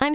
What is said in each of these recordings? I'm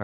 All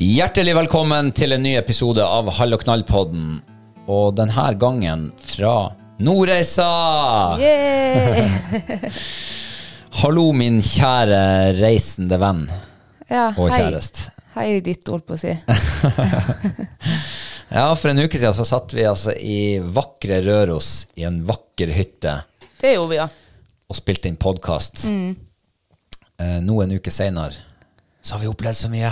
Hjertelig velkommen til en ny episode av Hall og knall-podden. Og denne gangen fra Nordreisa! Hallo, min kjære reisende venn Ja, og hei. kjæreste. Hei ditt, holdt på å si. Ja, for en uke siden så satt vi altså i vakre Røros i en vakker hytte Det gjorde vi, ja. og spilte inn podkast. Mm. Eh, nå en uke seinere så har vi opplevd så mye.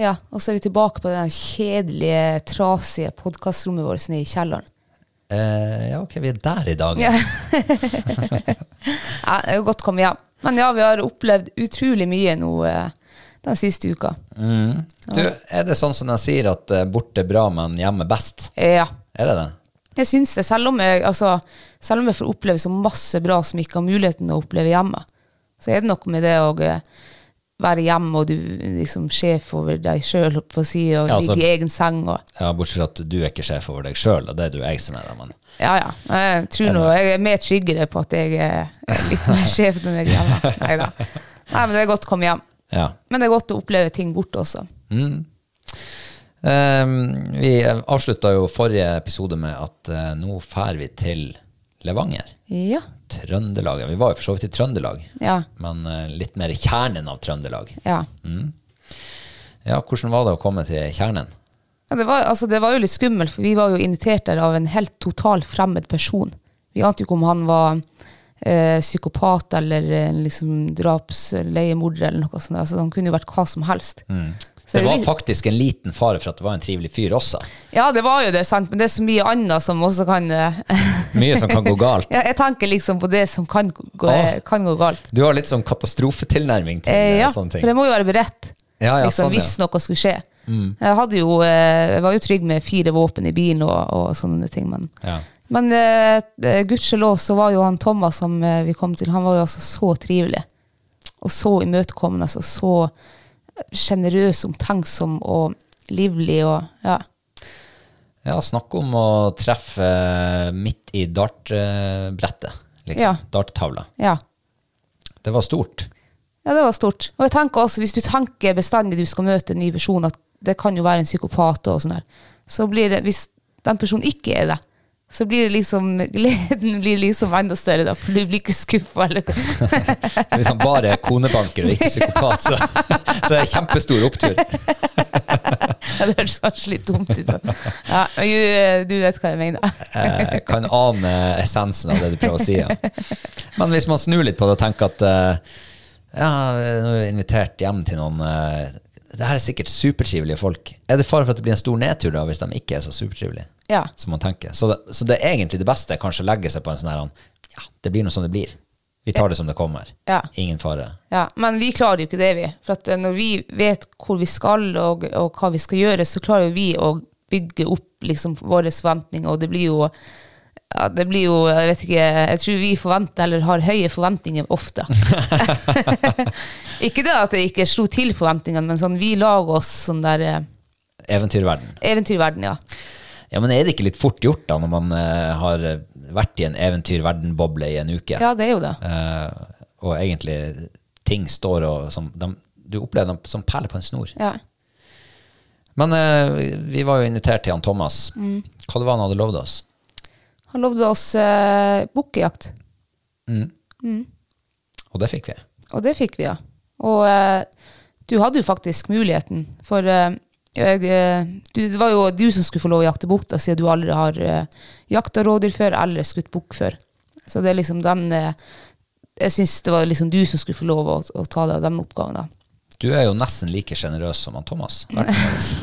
Ja, Og så er vi tilbake på det der kjedelige, trasige podkastrommet vårt nede i kjelleren. Eh, ja, ok, vi er der i dag. Ja. Ja, det er jo godt å komme hjem. Men ja, vi har opplevd utrolig mye nå eh, den siste uka. Du, er det sånn som de sier at eh, borte bra, men hjemme best? Ja. Er det det? Jeg syns det, selv om jeg, altså, selv om jeg får oppleve så masse bra som jeg ikke har muligheten å oppleve hjemme, så er det noe med det å eh, være hjemme, og du liksom sjef over deg sjøl, holdt på å si, og Ja, altså- ligge i egen seng og Ja, Bortsett fra at du er ikke sjef over deg sjøl, og det er du jeg som er det. Men Ja, ja. Jeg tror nå jeg er mer tryggere på at jeg er litt mer sjef enn jeg er hjemme. Neida. Nei, men det er godt å komme hjem. ja. Men det er godt å oppleve ting borte også. Ehm, vi avslutta jo forrige episode med at eh, nå drar vi til Levanger. Ja. Trøndelag. Ja, Vi var jo for så vidt i Trøndelag, Ja. men eh, litt mer i kjernen av Trøndelag. ja. Ja, Hvordan var det å komme til kjernen? Ja, det, var, altså, det var jo litt skummelt, for vi var jo invitert der av en helt total fremmed person. Vi ante jo ikke om han var eh, psykopat eller eh, liksom drapsleiemorder eller noe sånt. Altså, han kunne jo vært hva som helst. Så Mm. Det er jo var litt- faktisk en liten fare for at det var en trivelig fyr også. Ja, det var jo det, sant? men det er så mye annet som også kan eh, Mye som kan gå galt. Ja, jeg tenker liksom på det som kan gå, Ah. kan gå galt. Du har litt sånn katastrofetilnærming til Eh, eh, ja, sånne for ting. jeg må jo være beredt Ja, ja, liksom, sånn, ja. Mm. hvis noe skulle skje. Jeg, hadde jo, eh, jeg var jo trygg med fire våpen i bilen og, og sånne ting, men, Ja. men eh, eh, gudskjelov så var jo han Thomas som eh, vi kom til, han var jo altså så trivelig. Og så imøtekommende, altså så sjenerøs, omtenksom og livlig og ja. Ja, snakk om å treffe eh, midt i dartbrettet, liksom. Ja. Darttavla. ja. Det var stort. Ja, det var stort. Og jeg tenker også, hvis du tenker bestandig du skal møte en ny person, at det kan jo være en psykopat og sånn der, så blir det, hvis den personen ikke er det, så blir det liksom, gleden blir liksom enda større da, for du blir ikke skuffet eller Så Hvis han bare er konebanker og ikke psykopat, så, så er det kjempestor opptur. Ja, det høres kanskje litt dumt ut. men- Ja, men jo, eh, du vet hva jeg mener. Jeg kan ane essensen av det du prøver å si. Ja. Men hvis man snur litt på det og tenker at eh, Ja, nå er jeg invitert hjem til noen eh, Det her er sikkert supertrivelige folk. Er det fare for at det blir en stor nedtur da hvis de ikke er så supertrivelige? Ja. Som man tenker. Så det, så det er egentlig det beste kanskje å legge seg på en sånn her ja, Det blir nå som det blir. Vi tar det som det kommer. Ja. Ingen fare. Ja, men vi klarer jo ikke det, vi. For at eh, når vi vet hvor vi skal og, og hva vi skal gjøre, så klarer jo vi å bygge opp liksom, våre forventninger, og det blir jo ja, det blir jo, jeg vet ikke, jeg tror vi forventer, eller har høye forventninger ofte. ikke det at det ikke slo til forventningene, men sånn, vi lager oss sånn der eh, Eventyrverden. eventyrverden, ja. Ja, men er det ikke litt fort gjort da når man eh, har vært i en eventyrverden-boble i en uke? Ja, det er jo det. Eh, og egentlig ting står og som, de, Du opplever dem som perler på en snor. Ja. Men eh, vi var jo invitert til han Thomas. Mm. Hva det var han hadde lovd oss? Han lovde oss eh, bukkejakt. Mm. Mm. Og det fikk vi. Og det fikk vi, ja. Og eh, du hadde jo faktisk muligheten, for eh, jeg, eh, du, det var jo du som skulle få lov å jakte bukk, da, siden du aldri har eh, jakta rådyr før eller skutt bukk før. Så det er liksom den eh, Jeg syns det var liksom du som skulle få lov å, å ta deg av den oppgaven, da. Du er jo nesten like sjenerøs som han Thomas. Vært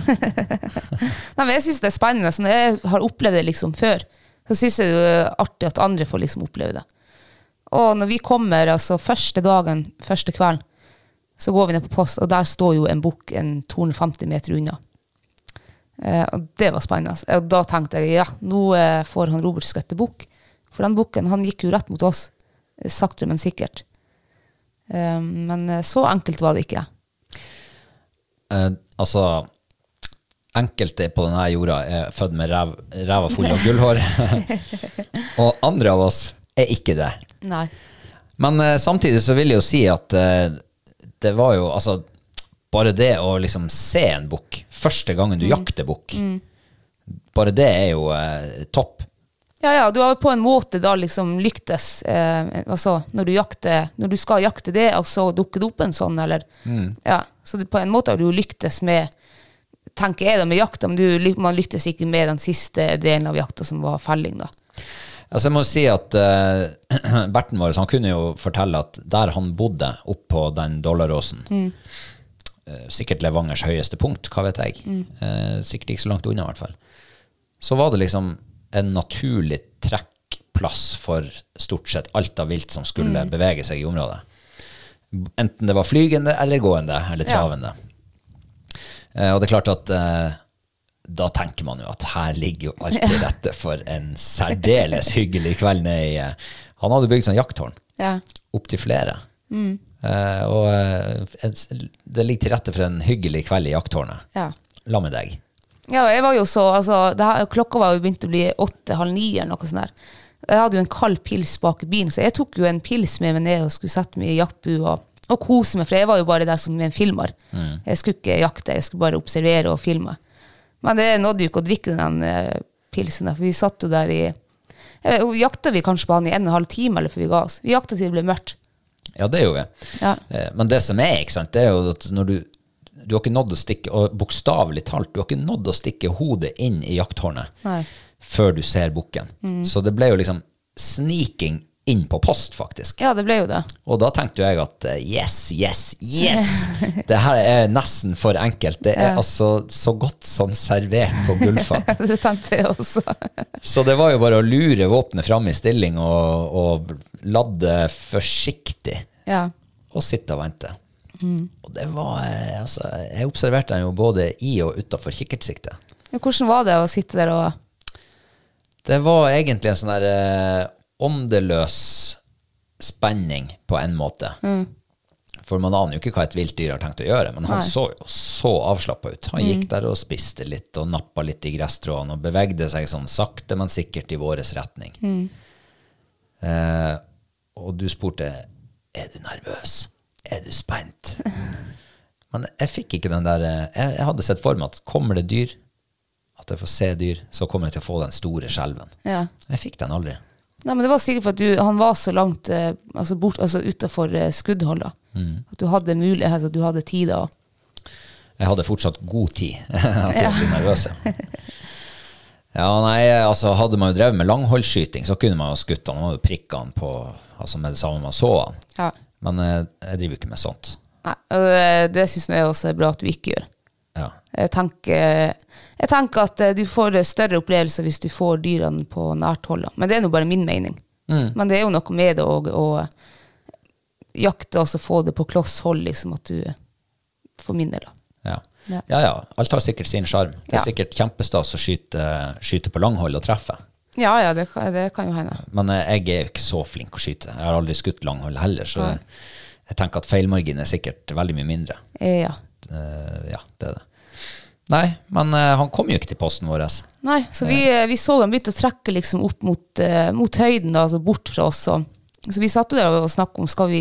Nei, men jeg syns det er spennende. Så når jeg har opplevd det liksom før, så syns jeg det er artig at andre får liksom oppleve det. Og når vi kommer, altså første dagen, første kvelden, så går vi ned på post, og der står jo en bukk en 250 meter unna. Eh, og det var spennende. altså. Og da tenkte jeg ja, nå eh, får han Robert skutt bukk. For den bukken, han gikk jo rett mot oss. eh, Sakte, men sikkert. Eh, men eh, så enkelt var det ikke. Eh, altså, enkelte på denne jorda er født med ræv, ræva full av gullhår. og andre av oss er ikke det. Nei. Men eh, samtidig så vil jeg jo si at eh, det var jo altså Bare det å liksom se en bukk første gangen du jakter bukk, bare det er jo eh, topp. Ja, ja, du har på en måte da liksom lyktes eh, altså, når, du jakter, når du skal jakte det, og så dukker det opp en sånn, eller ja, Så du, på en måte har du jo lyktes med Tenker jeg da med jakta, men du, ly- man lyktes ikke med den siste delen av jakta, som var felling, da. Altså jeg må si at eh, Berten vår han kunne jo fortelle at der han bodde, oppå den dollaråsen eh, Sikkert Levangers høyeste punkt, hva vet jeg. Eh, sikkert ikke så langt unna, i hvert fall. Så var det liksom en naturlig trekkplass for stort sett alt av vilt som skulle bevege seg i området. Enten det var flygende eller gående eller Ja. travende. Eh, og det er klart at eh, da tenker man jo at her ligger jo alt til rette for en særdeles hyggelig kveld nede i eh, Han hadde bygd sånn jakttårn, Ja. opptil flere. Eh, og eh, en s- det ligger til rette for en hyggelig kveld i jakttårnet. ja. La med deg. Ja, og jeg var jo så, altså, det her, klokka var jo begynt å bli åtte-halv ni eller noe sånt der. Jeg hadde jo en kald pils bak i bilen, så jeg tok jo en pils med meg ned og skulle sette meg i jaktbua og kose meg, for jeg var jo bare der som en filmer. Jeg skulle ikke jakte, jeg skulle bare observere og filme. Men det nådde jo ikke å drikke den eh, pilsen der, for vi satt jo der i jeg vet, Jakta vi kanskje på han i en og en halv time eller før vi ga oss? Vi jakta til det ble mørkt. Ja, det gjorde vi. Ja. Eh, men det som er, ikke sant, det er jo at når du du har ikke nådd å stikke, og bokstavelig talt, du har ikke nådd å stikke hodet inn i jakttårnet Nei. før du ser bukken. Så det ble jo liksom sniking inn på post, faktisk. Ja, det ble jo det. Og da tenkte jeg at eh, yes, yes, yes! Det her er nesten for enkelt. Det er altså så godt som servert på gullfat. Det tenkte jeg også. Så det var jo bare å lure våpenet fram i stilling og, og ladde forsiktig. Ja. Og sitte og vente. Og det var eh, altså, Jeg observerte den jo både i og utafor kikkertsiktet. Men Hvordan var det å sitte der og Det var egentlig en sånn der eh, åndeløs spenning på en måte. For man aner jo ikke hva et vilt dyr har tenkt å gjøre, men han så jo så avslappa ut. Han gikk der og spiste litt og nappa litt i gresstråene og bevegde seg sånn sakte, men sikkert i vår retning. Eh, og du spurte er du nervøs, er du spent? men jeg fikk ikke den der eh, Jeg, jeg hadde sett for meg at kommer det dyr, at jeg får se dyr, så kommer jeg til å få den store skjelven. Ja. Jeg fikk den aldri. Nei, men Det var sikkert for at du, han var så langt eh, altså bort, altså utafor eh, skuddhold. da. At du hadde mulighet, altså, du hadde tid. da. Jeg hadde fortsatt god tid til å bli nervøs. ja. Ja, nei, altså Hadde man jo drevet med langholdsskyting, så kunne man jo skutt han. Man hadde prikka han på, altså med det samme man så han. Ja. Men eh, jeg driver ikke med sånt. Nei, og eh, det- det syns jeg også er bra at du ikke gjør. Ja. Jeg tenker, jeg tenker at eh, du får større opplevelser hvis du får dyrene på nært hold. da. Men det er nå bare min mening. Men det er jo noe med det å- å eh, jakte og så få det på kloss hold, liksom, at du For min del, da. Ja. Ja. ja, ja. Alt har sikkert sin sjarm. Det er Ja. sikkert kjempestas å skyte, skyte på langhold og treffe. Ja ja, det, kan- det kan jo hende. Men eh, jeg er jo ikke så flink å skyte. Jeg har aldri skutt langhold heller, så jeg tenker at feilmarginen er sikkert veldig mye mindre. Eh, Ja. Eh, ja, det er det. Nei, men eh, han kom jo ikke til posten vår. Nei, så vi, eh, vi så han begynte å trekke liksom opp mot, eh, mot høyden, da, altså bort fra oss. Og, så vi satt jo der og snakket om skal vi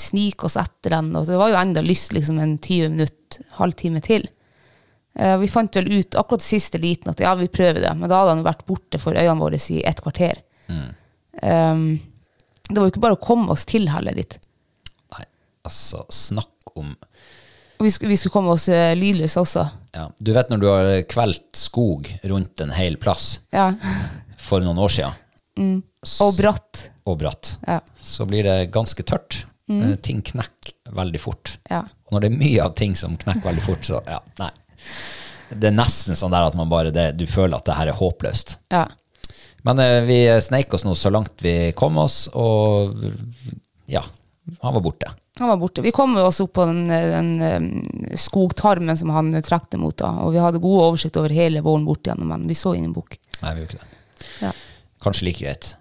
snike oss etter den. Og det var jo enda lyst liksom en 20 minutter, halvtime til. Eh, vi fant vel ut akkurat siste liten at ja, vi prøver det. Men da hadde han jo vært borte for øynene våre i et kvarter. Eh, det var jo ikke bare å komme oss til heller dit. Nei, altså, snakk om Og vi skulle, vi skulle komme oss eh, lydløse også. ja. Du vet når du har kvelt skog rundt en hel plass Ja. for noen år siden, Mm. Og bratt. og bratt, Ja. så blir det ganske tørt. Mm. Eh, Ting knekker veldig fort. Ja. Og når det er mye av ting som knekker veldig fort, så ja, nei. Det er nesten sånn der at man bare det, du føler at det her er håpløst. Ja. Men eh, vi sneik oss nå så langt vi kom oss, og ja, han var borte. Han var borte. Vi kom jo også opp på den, den eh, skogtarmen som han trekte mot, da, og vi hadde god oversikt over hele våren bort igjennom, men vi så ingen bukk. Nei, vi gjorde ikke det. Ja. Kanskje like greit.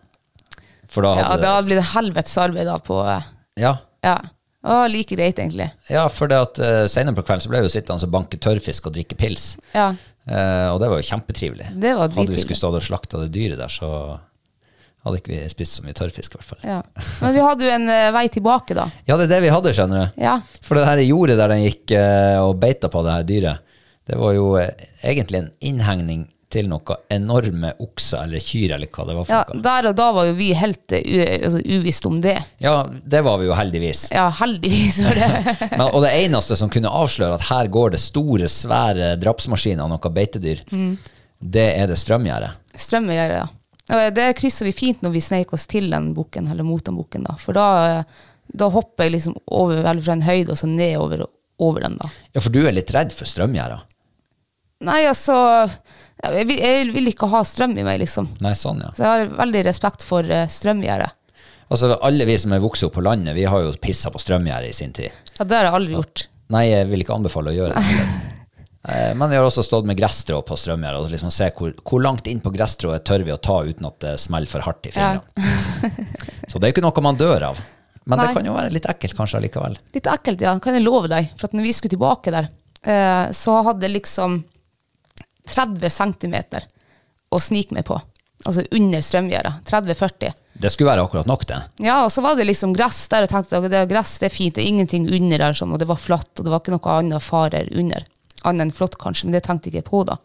For da Ja, hadde da blir det helvetes arbeid da på eh, ja, Ja. Å, like greit, egentlig. ja, for det at eh, senere på kvelden så ble vi jo sittende og banke tørrfisk og drikke pils. Ja. Eh, og det var jo kjempetrivelig. Det var hadde vi drittrivelig. skulle stått og slakta det dyret der, så hadde ikke vi spist så mye tørrfisk, i hvert fall. ja. Men vi hadde jo en eh, vei tilbake, da. Ja, det er det vi hadde, skjønner du. Ja. For det her jordet der den gikk eh, og beita på det her dyret, det var jo eh, egentlig en innhegning til noe enorme okser eller kyr eller hva det var for ja. noe. Der og da var jo vi helt eh, u altså, uvisst om det. Ja, det var vi jo heldigvis. Ja, heldigvis var det. Men, og det eneste som kunne avsløre at her går det store, svære drapsmaskiner og noe beitedyr, det er det strømgjerdet. Strømmegjerde, ja. Og det krysser vi fint når vi sneik oss til den bukken, eller mot den bukken, da. For da, eh, da hopper jeg liksom over, eller fra en høyde og så nedover over den, da. Ja, for du er litt redd for strømgjerder. Nei, altså Jeg vil, jeg vil ikke ha strøm i meg, liksom. Nei, sånn, ja. Så jeg har veldig respekt for eh, strømgjerde. Altså, alle vi som er vokst opp på landet, vi har jo pissa på strømgjerdet i sin tid. Ja, det har jeg aldri gjort. Nei, jeg vil ikke anbefale å gjøre det. heller. Eh, Men vi har også stått med gresstrå på strømgjerdet og liksom se hvor, hvor langt inn på gresstrået tør vi å ta uten at det smeller for hardt i fingrene. Så det er jo ikke noe man dør av. Men Nei. det kan jo være litt ekkelt kanskje allikevel. Litt ekkelt, ja. Kan jeg love deg. For at når vi skulle tilbake der, eh, så hadde jeg liksom 30 cm å snike meg på. Altså under strømgjerdet. 30-40. Det skulle være akkurat nok, det. Ja, og så var det liksom gress der, og tenkte at det er gress, det er fint, det er ingenting under der, sånn, og det var flatt, og det var ikke noe annet farer under. Annet enn flott, kanskje, men det tenkte jeg ikke på da.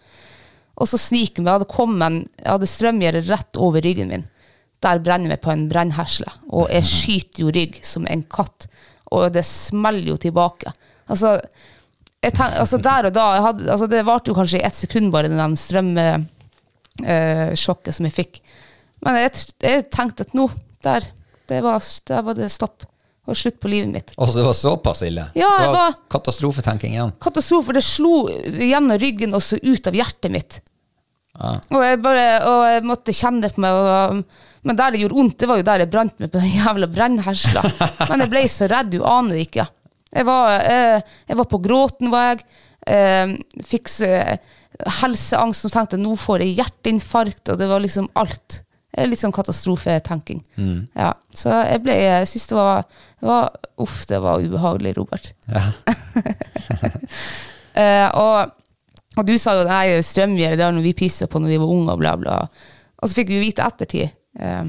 Og så sniker vi, jeg hadde, kommet, en- jeg hadde strømgjerde rett over ryggen min. Der brenner jeg på en brennhersle, og jeg skyter jo rygg som en katt, og det smeller jo tilbake. Altså, jeg tenk, altså der og da, jeg hadde, altså det varte jo kanskje i ett sekund bare den der strømsjokket eh, som jeg fikk. Men jeg, tr- jeg tenkte at nå, der, det var, der var det stopp. Det var slutt på livet mitt. Og det var såpass ille. Ja, det jeg var var- katastrofetenking igjen. Katastrofe, det slo gjennom ryggen og så ut av hjertet mitt. Og, jeg bare, og jeg måtte kjenne det på meg. Og, men der det gjorde vondt, det var jo der jeg brant meg på den jævla brennhersla. Men jeg ble så redd, du aner ikke. Jeg var, eh, jeg var på gråten, var jeg. Eh, fikk så- helseangst og tenkte nå får jeg hjerteinfarkt, og det var liksom alt. Eh, Litt sånn katastrofetenking. Ja, så jeg ble, jeg synes det var, det var Uff, det var ubehagelig, Robert. Eh, og, og du sa jo nei, strømgjerde, det var noe vi pissa på når vi var unge, og bla, bla. Og så fikk vi vite ettertid, eh,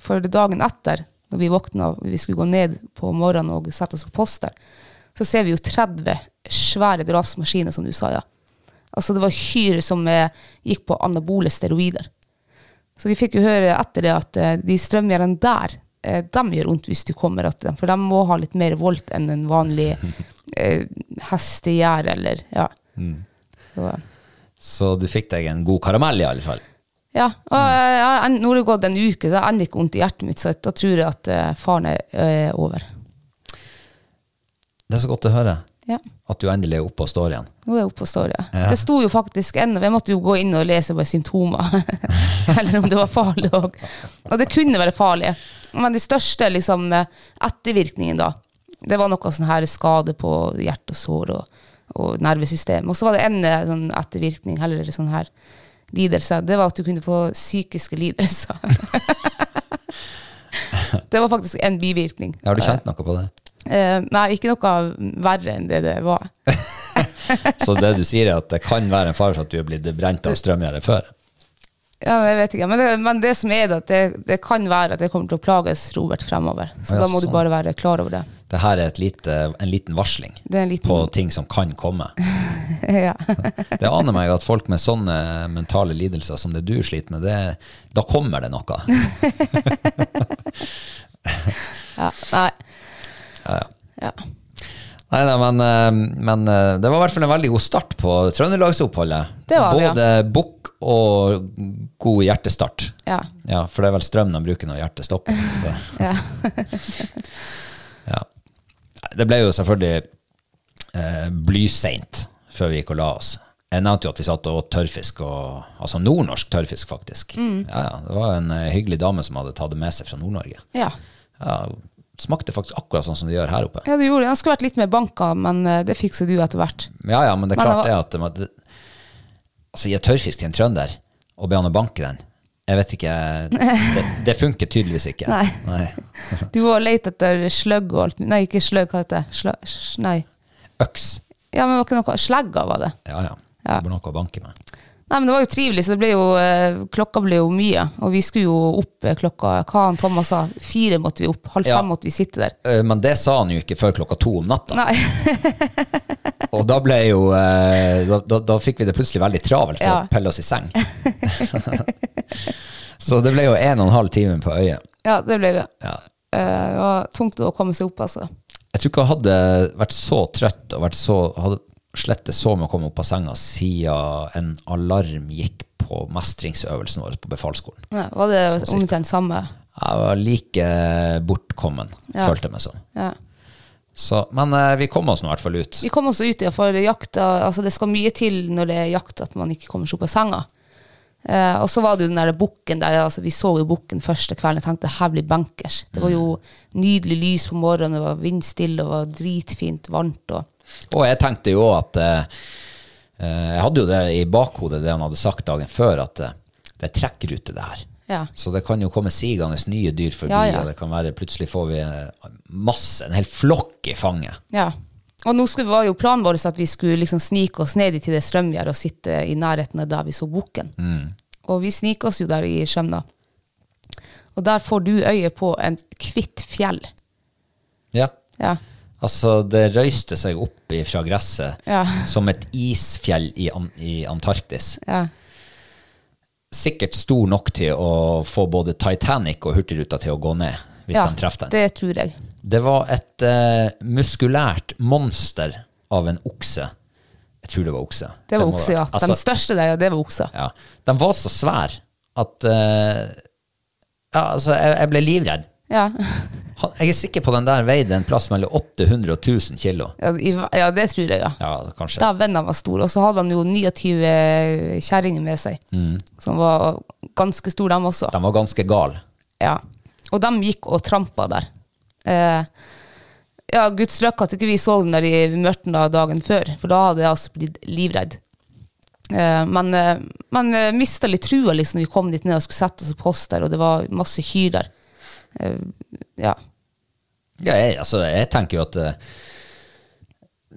for dagen etter, når vi våkna og vi skulle gå ned på morgenen og sette oss på post der, så ser vi jo 30 svære drapsmaskiner, som du sa, ja. Altså det var kyr som eh, gikk på anabole steroider. Så vi fikk jo høre etter det at eh, de strømgjerdene der, eh, dem gjør vondt hvis du kommer etter dem, for de må ha litt mer volt enn en vanlig eh, hestegjær eller ja. Så, Så du fikk deg en god karamell, i alle fall. ja. Og, eh, ja, en- nå har det gått en uke, så jeg har ennå ikke vondt i hjertet mitt, så da tror jeg at eh, faren er eh, over. Det er så godt å høre Ja. at du endelig er oppe og står igjen. Nå er jeg oppe og står, ja. Det sto jo faktisk ennå. Jeg måtte jo gå inn og lese bare symptomer. Eller om det var farlig òg. Og det kunne være farlig. Men de største liksom, ettervirkningene da, det var noe sånn her skade på hjerte og sår og, og nervesystem. Og så var det en eh, sånn ettervirkning, eller sånn her lidelse, det var at du kunne få psykiske lidelser. det var faktisk en bivirkning. Har du kjent noe på det? Eh, nei, ikke noe verre enn det det var. Så det du sier er at det kan være en fare for at du er blitt brent av strømgjerde før? Ja, men jeg vet ikke. Men det, men det som er det, at det, det kan være at det kommer til å plages Robert fremover. Så Ja, da må du sånn. bare være klar over det. Det her er et lite, en liten varsling Det er en liten- på ting som kan komme. ja. Det aner meg at folk med sånne mentale lidelser som det du sliter med, det, da kommer det noe. ja. Nei. Ja, ja. Ja. Nei, nei, men, eh, men eh, det var i hvert fall en veldig god start på Trøndelagsoppholdet. Det var det, ja. Både bukk og god hjertestart. Ja. Ja, for det er vel strøm de bruker når hjertet stopper. Så. ja. Ja. Nei, Det ble jo selvfølgelig eh, blyseint før vi gikk og la oss. Jeg nevnte jo at vi satt og åt tørrfisk, og, altså nordnorsk tørrfisk, faktisk. Mm. Ja, ja, det var en eh, hyggelig dame som hadde tatt det med seg fra Nord-Norge. ja. Ja, smakte faktisk akkurat sånn som de gjør her oppe. ja, du gjorde det. Han skulle vært litt mer banka, men eh, det fiksa du etter hvert. Ja, ja, men det er Men det klart det var- at man- det- Altså, gi tørrfisk til en trønder og be han å banke den. Jeg vet ikke Det, det funker tydeligvis ikke. Nei. Nei. Du var leit etter sløgg og alt. Nei, ikke sløgg, hva heter det? Slø... sj- Nei. Øks. Ja, men det var ikke noe Slegga var det. Ja, ja. Ja. Det blir noe å banke med. Nei, men det var jo trivelig, så det ble jo, eh, klokka ble jo mye. Og vi skulle jo opp eh, klokka Hva han Thomas sa? Fire måtte vi opp. Halv Ja. fem måtte vi sitte der. Eh, Men det sa han jo ikke før klokka to om natta. Nei. Og da ble jo eh, da, da, da fikk vi det plutselig veldig travelt for Ja. å pelle oss i seng. så det ble jo en og en halv time på øyet. Ja, det ble det. Ja. Eh, Det var tungt å komme seg opp, altså. Jeg tror ikke jeg hadde vært så trøtt og vært så, hadde slettet så med å komme opp av senga siden en alarm gikk på mestringsøvelsen vår på befalsskolen. Ja, var det Sånn cirka. omtrent samme? Jeg var like bortkommen, Ja. følte jeg meg som. Ja. Så, men eh, vi kom oss nå i hvert fall ut. Vi kom oss ut, ja, for jakta Altså, det skal mye til når det er jakt at man ikke kommer seg opp av senga. Eh, og så var det jo den der bukken der, altså vi så jo bukken første kvelden. Jeg tenkte her blir bankers. Det var jo nydelig lys på morgenen, det var vindstille, det var dritfint, varmt og Og jeg tenkte jo at eh, eh, Jeg hadde jo det i bakhodet, det han hadde sagt dagen før, at eh, det er trekkrute, det her. Ja. Så det kan jo komme sigende nye dyr forbi, Ja, ja. og det kan være plutselig får vi eh, masse, en hel flokk i fanget. Ja. Og nå skulle, var jo planen vår at vi skulle liksom snike oss ned i til det strømgjerdet og sitte i nærheten av der vi så bukken. Mm. Og vi sniker oss jo der i Skjemna. Og der får du øye på en kvitt fjell. Ja. Ja. Altså, det røyste seg opp fra gresset Ja. som et isfjell i, An i Antarktis. ja. Sikkert stor nok til å få både Titanic og Hurtigruta til å gå ned, hvis ja, de treffer den. Det tror jeg. Det var et eh, muskulært monster av en okse. Jeg tror det var okse. Det var må okse, ja. være- altså, Den største der, ja, det var okse. ja. Den var så svær at eh, ja, altså, jeg, jeg ble livredd. Ja. Han, jeg er sikker på den der veide en plass mellom 800 og 1000 kilo. Ja, i- ja, det tror jeg, ja. Ja, kanskje. Da vennene var store. Og så hadde han jo 29 kjerringer med seg, Mm. som var ganske store, dem også. Den var ganske gal. Ja. Og de gikk og trampa der. Eh, ja, guds løkke at ikke vi så den der i mørten da dagen før, for da hadde jeg altså blitt livredd. Eh, men eh, man eh, mista litt trua liksom når vi kom dit ned og skulle sette oss på oss der, og det var masse kyr der. Eh, ja. Ja, jeg, altså, jeg tenker jo at eh,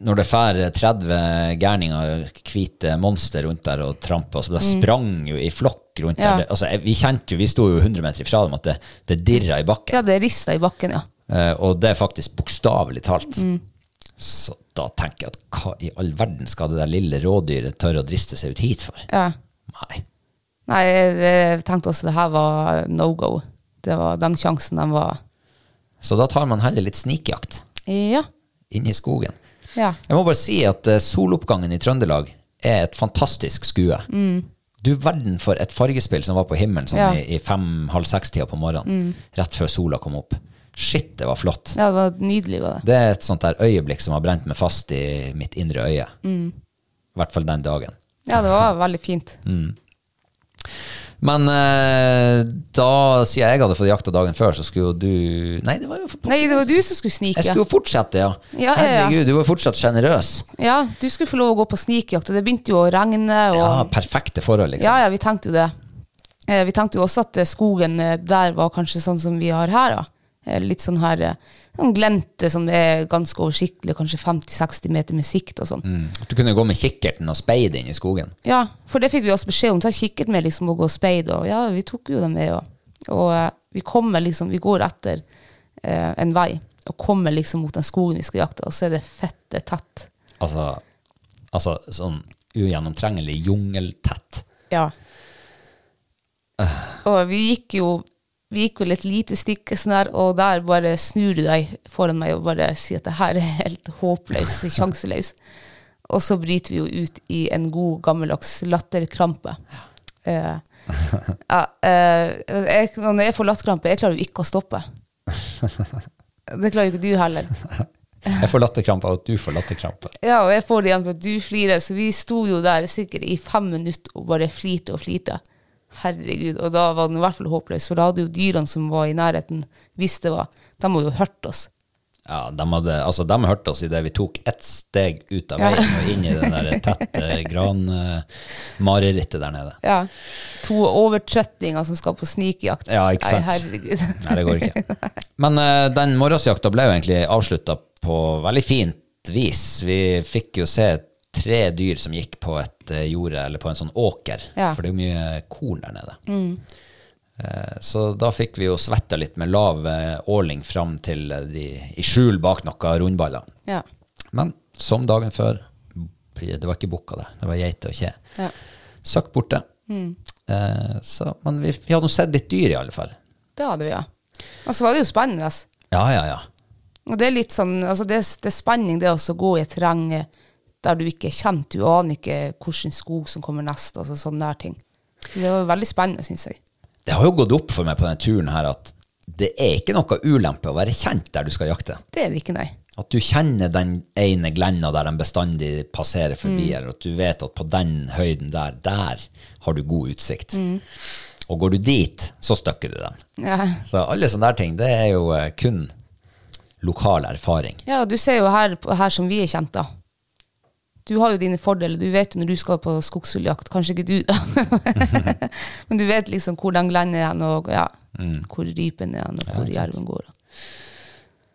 når det fær 30 gærninger, hvite monster rundt der og tramper, så det sprang jo i flokk rundt Mm. Ja. der. Det- Altså, jeg- vi kjente jo, vi sto jo 100 meter ifra dem, at det, det dirra i bakken. ja, det rista i bakken, ja. Mm. Eh, og det er faktisk bokstavelig talt. Så da tenker jeg at hva i all verden skal det der lille rådyret tørre å driste seg ut hit for? ja. Nei. Nei, jeg, jeg tenkte også det her var no go. Det var den sjansen den var Så da tar man heller litt snikjakt Ja. inne i skogen. ja. Jeg må bare si at eh, soloppgangen i Trøndelag er et fantastisk skue. Du verden for et fargespill som var på himmelen sånn Mm. Ja. Mm. i, i fem-halv seks-tida på morgenen, rett før sola kom opp. Shit, det var flott. Ja, det var nydelig, var det. Det er et sånt der øyeblikk som har brent meg fast i mitt indre øye. Mm. I hvert fall den dagen. Ja, det var veldig fint. Mm. Men eh, da, siden jeg hadde fått jakta dagen før, så skulle jo du Nei, det var jo Nei, det var du som skulle snike. Jeg skulle jo fortsette, ja. Ja, ja, ja. Herregud, du var jo fortsatt sjenerøs. Ja, du skulle få lov å gå på snikjakt, og det begynte jo å regne. Og... Ja, Ah, perfekte forhold, liksom. Ja, ja, vi tenkte jo det. Eh, Vi tenkte jo også at eh, skogen eh, der var kanskje sånn som vi har her. da. Eh, Litt sånn her eh, sånn glente som er ganske oversiktlig, kanskje 50-60 meter med sikt og sånn. At du kunne gå med kikkerten og speide inn i skogen. Ja, for det fikk vi også beskjed om. Ta kikkert med liksom og gå og speid. Og ja, vi tok jo dem med. Og, og eh, vi kommer liksom, vi går etter eh, en vei og kommer liksom mot den skogen vi skal jakte, og så er det fette tett. Altså, altså sånn ugjennomtrengelig jungeltett. Ja. Og vi gikk jo vi gikk vel et lite stykke, sånn her, og der bare snur du deg foran meg og bare sier at det her er helt håpløst, sjanseløst. Og så bryter vi jo ut i en god, gammeldags latterkrampe. Eh, ja, eh, jeg, og når jeg får latterkrampe, jeg klarer jo ikke å stoppe. Det klarer jo ikke du heller. Jeg får latterkrampe av at du får latterkrampe. Ja, og jeg får det igjen for at du flirer. Så vi sto jo der sikkert i fem minutter og bare flirte og flirte. Herregud. Og da var den i hvert fall håpløs, for da hadde jo dyrene som var i nærheten, hvis det var De hadde jo hørt oss. Ja, de hadde, altså, de hørte oss idet vi tok ett steg ut av Ja. veien og inn i det der eh, tette granmarerittet der nede. Ja. To overtrøttinger som skal på snikjakt. Ja, ikke sant. Nei, herregud. Nei, det går ikke. Men eh, den morgensjakta ble jo egentlig avslutta på veldig fint vis. Vi fikk jo se tre dyr som gikk på et eh, jorde, eller på en sånn åker, Ja. for det er jo mye korn der nede. Eh, Så da fikk vi jo svetta litt med lav eh, åling fram til eh, de i skjul bak noen rundballer. Ja. Men som dagen før, det var ikke bukka der, det var geiter og kje. Ja. Søkk borte. Eh, Så, men vi, vi hadde nå sett litt dyr i alle fall. Det hadde vi, ja. Og så var det jo spennende. ass. Ja, ja, ja. Og det er litt sånn, altså det, er- det er spenning det også å gå i et terreng eh, der du ikke er kjent, du aner ikke hvilken skog som kommer neste, altså sånne der ting. Det var veldig spennende, synes jeg. Det har jo gått opp for meg på denne turen her at det er ikke noe ulempe å være kjent der du skal jakte. Det er det ikke, nei. At du kjenner den ene glenda der den bestandig passerer forbi, eller at du vet at på den høyden der, der har du god utsikt. Og går du dit, så støkker du dem. Ja. Så alle sånne der ting, det er jo eh, kun lokal erfaring. ja, du ser jo her, her som vi er kjent da. Du har jo dine fordeler, du vet jo når du skal på skogsfugljakt, kanskje ikke du da. Men du vet liksom hvor den glenden er, hen, og ja, hvor rypen er, hen, og hvor jerven går.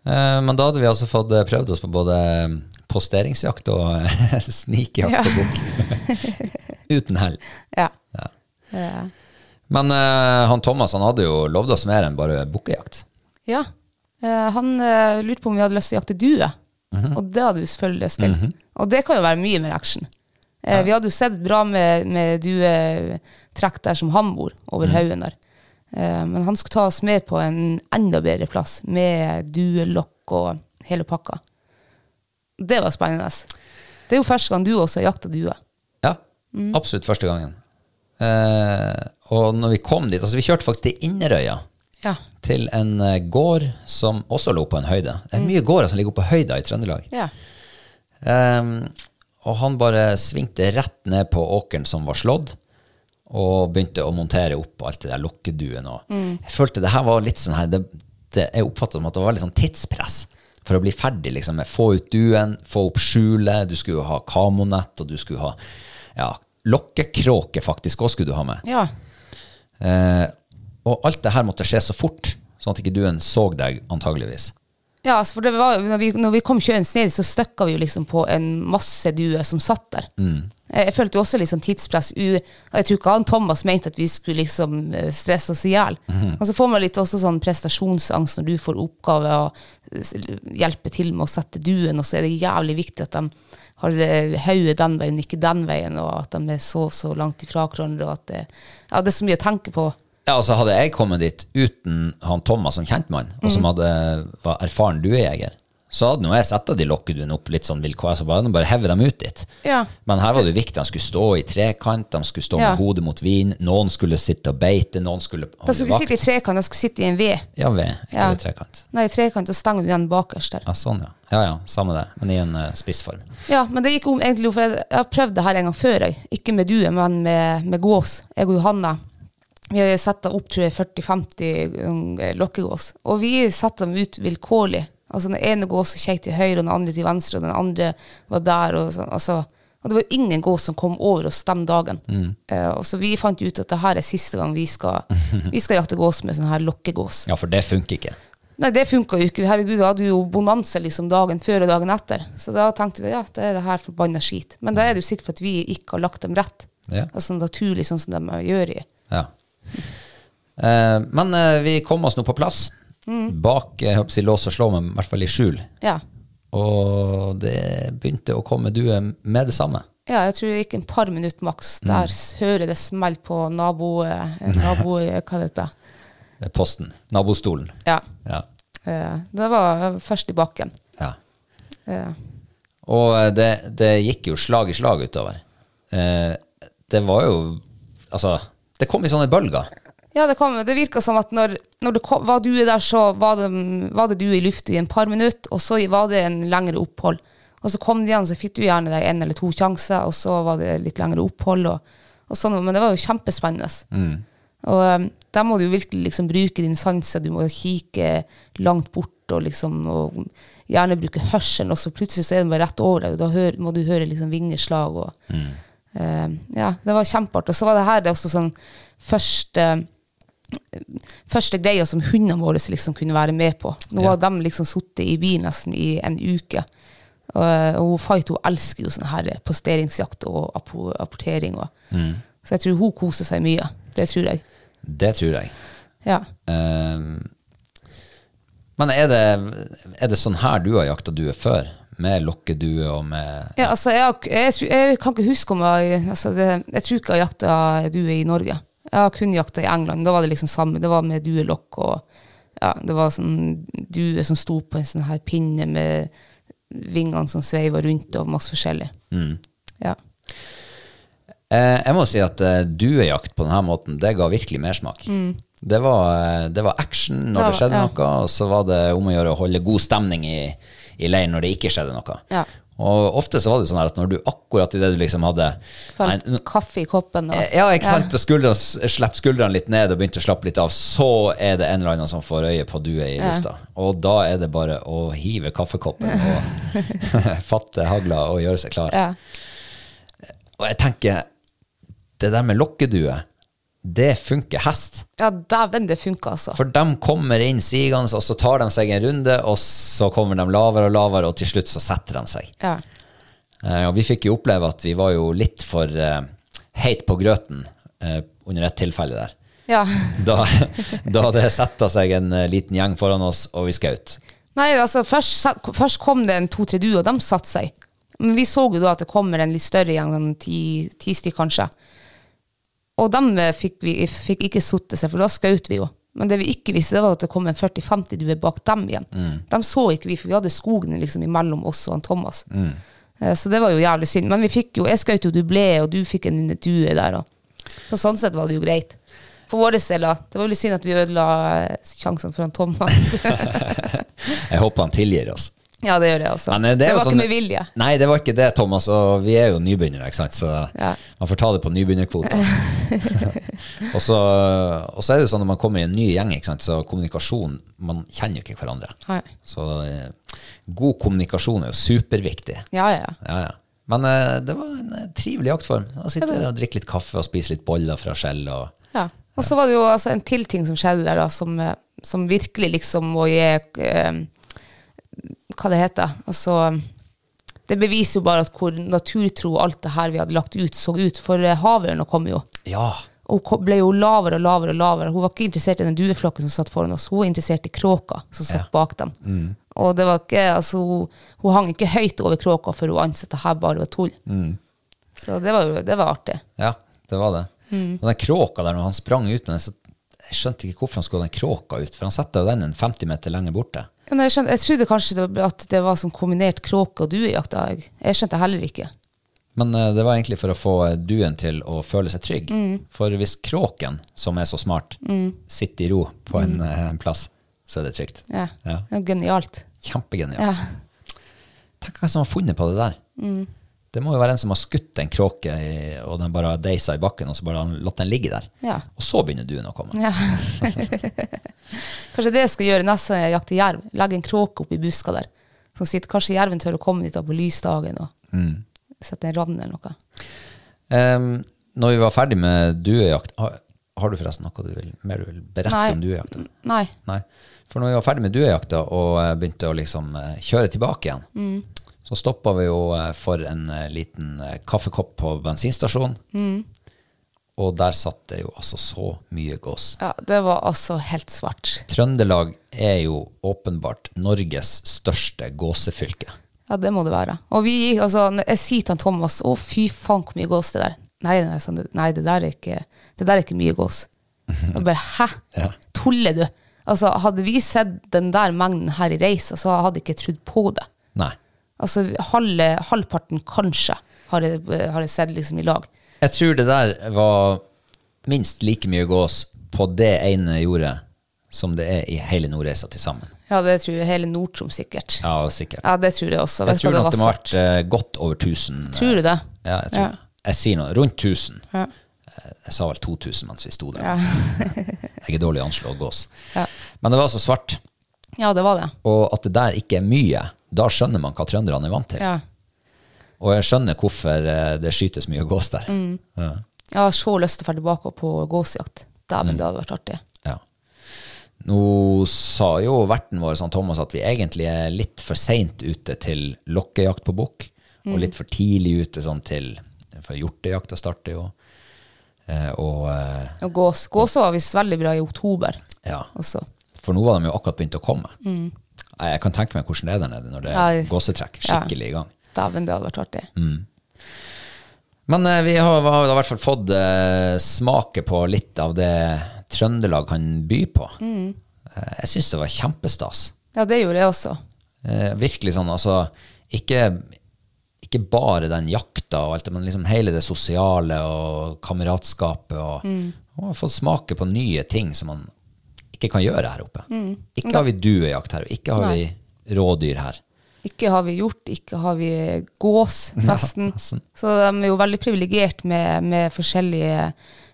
Eh, Men da hadde vi altså fått eh, prøvd oss på både eh, posteringsjakt og snikjakt Ja. på bukk. Uten hell. Ja. Ja. Eh, Men eh, han Thomas han hadde jo lovd oss mer enn bare bukkejakt. Ja. Eh, han eh, lurte på om vi hadde lyst til å jakte due. Og det hadde vi selvfølgelig lyst til. Og det kan jo være mye mer action. Eh, Vi hadde jo sett bra med, med duetrekk der som han bor, over haugen der. Eh, men han skulle ta oss med på en enda bedre plass, med duelokk og hele pakka. Det var spennende. Det er jo første gang du også har jakta due. Ja, absolutt første gangen. Eh, og når vi kom dit, altså vi kjørte faktisk til Inderøya, Ja. til en eh, gård som også lå på en høyde. Det er mye gårder som ligger på høyda i Trøndelag. ja. Ehm, og han bare svingte rett ned på åkeren som var slått, og begynte å montere opp alt det der lokkeduen. Og Jeg følte det her var litt sånn her det, det, Jeg oppfattet som at det var litt sånn tidspress for å bli ferdig. liksom med Få ut duen, få opp skjulet, du skulle jo ha kamonett, og du skulle ha ja, lokkekråke faktisk òg skulle du ha med. ja. Eh, og alt det her måtte skje så fort, sånn at ikke duen så deg, antageligvis. Ja, altså, for det var, jo- når, vi, når vi kom kjørende ned, så støkka vi jo liksom på en masse duer som satt der. Eh, Jeg følte jo også litt sånn tidspress. U og jeg tror ikke han Thomas mente at vi skulle liksom eh, stresse oss i hjel. Og så får man litt også sånn prestasjonsangst når du får oppgave og eh, s- hjelpe til med å sette duen, og så er det jævlig viktig at de har eh, hodet den veien, ikke den veien, og at de er så så langt ifra hverandre, og at det, ja, det er så mye å tenke på. Ja, altså Hadde Mm. jeg kommet dit uten han Thomas som kjentmann, og som hadde, var erfaren duejeger, så hadde nå jeg sett at de lokket den opp litt sånn vilkår, så bare, bare heve dem ut dit. Ja. Men her var det jo viktig, de skulle stå i trekant, de skulle stå Ja. med hodet mot vin, noen skulle sitte og beite, noen skulle De holde skulle ikke sitte i trekant, de skulle sitte i en V. Ja, ved, ikke Ja. ved trekant. Nei, i trekant, og stang du den bakerst der. Ja, sånn, ja. Ja, ja, samme det, men i en eh, spissform. Ja, men det gikk om egentlig, for jeg, jeg har prøvd det her en gang før, jeg. Ikke med due, men med, med gås. Jeg og Johanna, vi har satt opp, tror jeg, 40-50 eh, lokkegås. Og vi satte dem ut vilkårlig. Altså den ene gåsen kjekk til høyre, og den andre til venstre, og den andre var der, og sånn. Altså, og det var jo ingen gås som kom over oss den dagen. Eh, og så vi fant jo ut at det her er siste gang vi skal, vi skal jakte gås med sånn her lokkegås. Ja, for det funker ikke. Nei, det funka jo ikke. Herregud, vi hadde jo bonanza liksom dagen før og dagen etter. Så da tenkte vi ja, det er det her forbanna skit. Men da er det jo sikkert for at vi ikke har lagt dem rett. Ja. Altså naturlig, sånn som de gjør i Ja. Eh, men eh, vi kom oss nå på plass, Mm. bak eh, jeg håper å si, lås og slå, men i hvert fall i skjul. Ja. Og det begynte å komme due med det samme. ja, jeg tror det gikk en par minutter maks. Der s- hører jeg det smell på nabo... eh, nabo eh, hva det heter Eh, Posten. Nabostolen. Ja. Ja. eh, Det var først i bakken. ja. Eh, Og eh, det, det gikk jo slag i slag utover. Eh, det var jo Altså, det kom i sånne bølger. Ja, det, kom, det virka som at når, når det kom, var du der, så var det, var det du i lufta i en par minutter, og så var det en lengre opphold. Og så kom de igjen, så fikk du gjerne deg en eller to sjanser, og så var det litt lengre opphold. Og, og sånn, men det var jo kjempespennende. Og um, der må du jo virkelig liksom bruke dine sanser, du må kikke langt bort, og, liksom, og gjerne bruke hørselen, og så plutselig så er den bare rett over deg, og da hører, må du høre liksom vingeslag og Eh, ja, det var kjempeartig. Og så var det her det er også sånn første Første greia som hundene våre liksom kunne være med på. Nå har de liksom sittet i bil nesten i en uke. Og, og hun Fight hun elsker jo sånn her posteringsjakt og appo- apportering. Og. Så jeg tror hun koser seg mye. Det tror jeg. Det tror jeg. Ja. Eh, men er det, er det sånn her du har jakta due før? Med lokkedue og med ja altså, jeg, har k- jeg, tror- jeg kan ikke huske om jeg altså det, Jeg tror ikke jeg har jakta due i Norge. Jeg har kun jakta i England. Da var det liksom samme. Det var med duelokk og ja, Det var sånn due som sto på en sånn her pinne med vingene som sveiva rundt, og masse forskjellig. Mm. Ja. Eh, jeg må si at eh, duejakt på denne måten, det ga virkelig mersmak. Det, var, eh, det var action når Ja, det skjedde ja. noe, og så var det om å gjøre å holde god stemning i, i leiren når det ikke skjedde noe. Ja. Og ofte så var det jo sånn her at når du akkurat i det du liksom hadde Nei, eh, Felt kaffe i koppen. Og, ja, ikke sant? Og skuldrene, slapp skuldrene litt ned og begynte å slappe litt av, så er det en eller annen som får øye på due i lufta. Og da er det bare å hive kaffekoppen og fatte hagla og gjøre seg klar. Ja. Og jeg tenker, det der med lokkedue, det funker hest. ja, dæven, det funka, altså. For de kommer inn sigende, og så tar de seg en runde, og så kommer de lavere og lavere, og til slutt så setter de seg. Ja. Eh, og vi fikk jo oppleve at vi var jo litt for eh, heit på grøten eh, under et tilfelle der. ja. Da, da det setta seg en eh, liten gjeng foran oss, og vi skjøt. Nei, altså, først, sa- først kom det en to-tre duo, og de satte seg. Men vi så jo da at det kommer en litt større gjeng, en ti, ti stykk kanskje. Og dem eh, fikk, vi, fikk ikke sotte seg, for da skjøt vi jo. Men det vi ikke visste, det var at det kom en 40-50 duer bak dem igjen. Dem så ikke vi, for vi hadde skogen liksom imellom oss og han Thomas. Eh, Så det var jo jævlig synd. Men vi fikk jo, jeg skjøt jo dublé, og du fikk en due der. Og. Så sånn sett var det jo greit. For vår del, da. Det var jo litt synd at vi ødela eh, sjansen for han Thomas. Jeg håper han tilgir oss. Ja, det gjør det også. Men, eh, det er jo var sånn- ikke med vilje. Nei, det var ikke det, Thomas. Og vi er jo nybegynnere, ikke sant? så Ja. man får ta det på nybegynnerkvota. og, så, og så er det jo sånn når man kommer i en ny gjeng, ikke sant? så kommunikasjon Man kjenner jo ikke hverandre. Nei. Så eh, god kommunikasjon er jo superviktig. Ja, ja, ja. Ja, ja. Men eh, det var en eh, trivelig jaktform. Å sitte der og drikke litt kaffe og spise litt boller fra skjell. og... ja. Og så var det jo altså, en til ting som skjedde der, da, som, eh, som virkelig liksom må gi eh, Hva det heter Altså, det beviser jo bare at hvor naturtro alt det her vi hadde lagt ut, så ut. For eh, havørna kom jo. Ja. Og hun kom- ble jo lavere og lavere. og lavere. Hun var ikke interessert i den dueflokken som satt foran oss, hun var interessert i kråka som satt bak dem. Og det var ikke, altså, hun, hun hang ikke høyt over kråka før hun anså at det her bare var tull. Så det var, jo- det var artig. Ja, det var det. Mm. Og den kråka der, når han sprang ut med den, så jeg skjønte ikke hvorfor han skulle ha den kråka ut, for han setter jo den en 50 meter lenger borte. Men jeg, skjønte, jeg trodde kanskje det var, at det var sånn kombinert kråke- og duejakt. da. Jeg, jeg skjønte heller ikke. Men eh, det var egentlig for å få duen til å føle seg trygg. Mm. For hvis kråken, som er så smart, sitter i ro på en eh, plass, så er det trygt. Mm. Ja. Ja. Det var genialt. Kjempegenialt. Ja. Mm. Tenk hvem som har funnet på det der. Det må jo være en som har skutt en kråke, i, og den bare har deisa i bakken, og så bare han- latt den ligge der. Ja. Og så begynner duen å komme. ja. kanskje det jeg skal gjøre neste gang jeg jakter jerv. Legge en kråke oppi buska der. Som sitter, kanskje jerven tør å komme dit da på lysdagen og Mm. sette en ravn eller noe. Em, når vi var ferdig med duejakt har, har du forresten noe du vil, mer du vil berette Nei. om duejakta? Nei. Nei. For når vi var ferdig med duejakta og eh, begynte å liksom eh, kjøre tilbake igjen, så stoppa vi jo eh, for en eh, liten eh, kaffekopp på bensinstasjonen. Og der satt det jo altså så mye gås. Ja, det var altså helt svart. Trøndelag er jo åpenbart Norges største gåsefylke. Ja, det må det være. Og vi gikk, altså, når jeg sier til han Thomas, å fy faen hvor mye gås det der. Nei, nei, sånn, det- nei det, der er ikke, det der er ikke mye gås. Og bare, hæ? Ja. Tuller du? Altså, hadde vi sett den der mengden her i reisa, så hadde jeg ikke trodd på det. Nei. Altså, halve, halvparten kanskje har jeg, har jeg sett liksom i lag. Jeg tror det der var minst like mye gås på det ene jordet som det er i hele Nordreisa til sammen. Ja, det tror jeg hele Nord-Troms sikkert. Ja. Ja, sikkert. det tror jeg også. jeg Vet du hva, tror nok det må ha var vært svart. eh, godt over 1000. eh, Tror du det? Ja, jeg tror Ja. det. Jeg sier noe. Rundt 1000. Ja. Eh, Jeg sa vel 2000 mens vi sto der. Ja. Jeg er dårlig å anslå gås. Ja. Men det var altså svart. Ja, det var det. Og at det der ikke er mye, da skjønner man hva trønderne er vant til. Ja. Og jeg skjønner hvorfor eh, det skytes mye gås der. Mm. Ja. Jeg har så lyst til å dra tilbake på gåsejakt. Mm. Dæven, det hadde vært artig. Ja. Nå sa jo verten vår sånn, Thomas at vi egentlig er litt for seint ute til lokkejakt på bukk, Mm. og litt for tidlig ute sånn til For hjortejakta starter jo. Eh, og eh, Og gås. Gåsa var visst veldig bra i oktober ja. også. For nå var de jo akkurat begynt å komme. Nei, Jeg kan tenke meg hvordan det er der nede når det er Mm. Ja, gåsetrekk. ja. Skikkelig i gang. Dæven, det hadde vært artig. Mm. Men eh, vi har, har i hvert fall fått eh, smake på litt av det Trøndelag kan by på. Mm. Eh, jeg syns det var kjempestas. Ja, det gjorde jeg også. Eh, virkelig sånn, altså ikke, ikke bare den jakta og alt det, men liksom hele det sosiale og kameratskapet og, og fått smake på nye ting som man ikke kan gjøre her oppe. Ikke har vi duejakt her, og ikke har Nei. vi rådyr her. Ikke har vi gjort, ikke har vi gås, nesten. Så de er jo veldig privilegert med, med forskjellige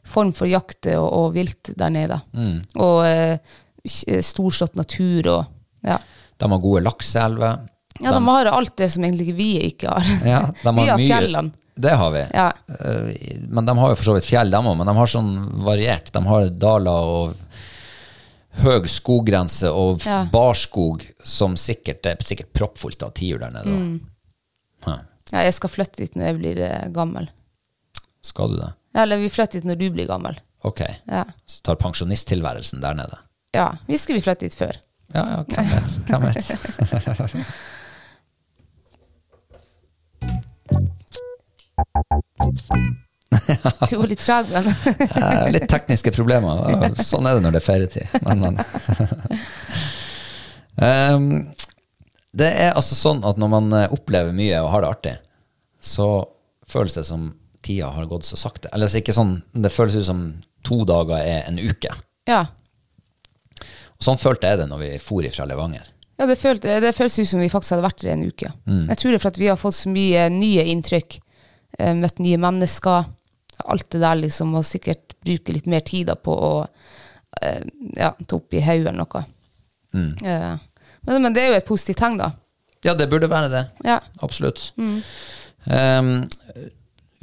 form for jakt og, og vilt der nede. Mm. Og eh, k- storslått natur og ja. De har gode lakseelver. ja, de har alt det som egentlig vi ikke har. Ja, de har vi har mye- fjellene. Det har vi. Ja. Eh, Men de har jo for så vidt fjell, de òg. Men de har sånn variert. De har daler og høg skoggrense og f- Ja. barskog, som sikkert det er sikkert proppfullt av tiur der nede. da. Hæ. Ja, jeg skal flytte dit når jeg blir eh, gammel. Skal du det? Eller vi flytter dit når du blir gammel. Ok. Ja. Så tar pensjonisttilværelsen der nede. Ja, vi skulle vi flytte dit før. Ja, ja, hvem vet? Hvem vet? Du var litt treg, men Eh, Litt tekniske problemer. Sånn er det når det er ferietid. Men, men. Ehm, det er altså sånn at når man eh, opplever mye og har det artig, så føles det som tida har gått så sakte. Eller altså ikke sånn, det føles ut som to dager er en uke. ja. Og sånn følte jeg det når vi for ifra Levanger. ja det, følte, det føles ut som vi faktisk hadde vært der i en uke. Jeg tror det er for at vi har fått så mye nye inntrykk. eh, Møtt nye mennesker. Alt det der, liksom. Og sikkert bruke litt mer tid da på å eh, ja, ta opp i hodet eller noe. Eh, Men, men det er jo et positivt tegn, da. Ja, det burde være det. Ja. Absolutt. Ehm,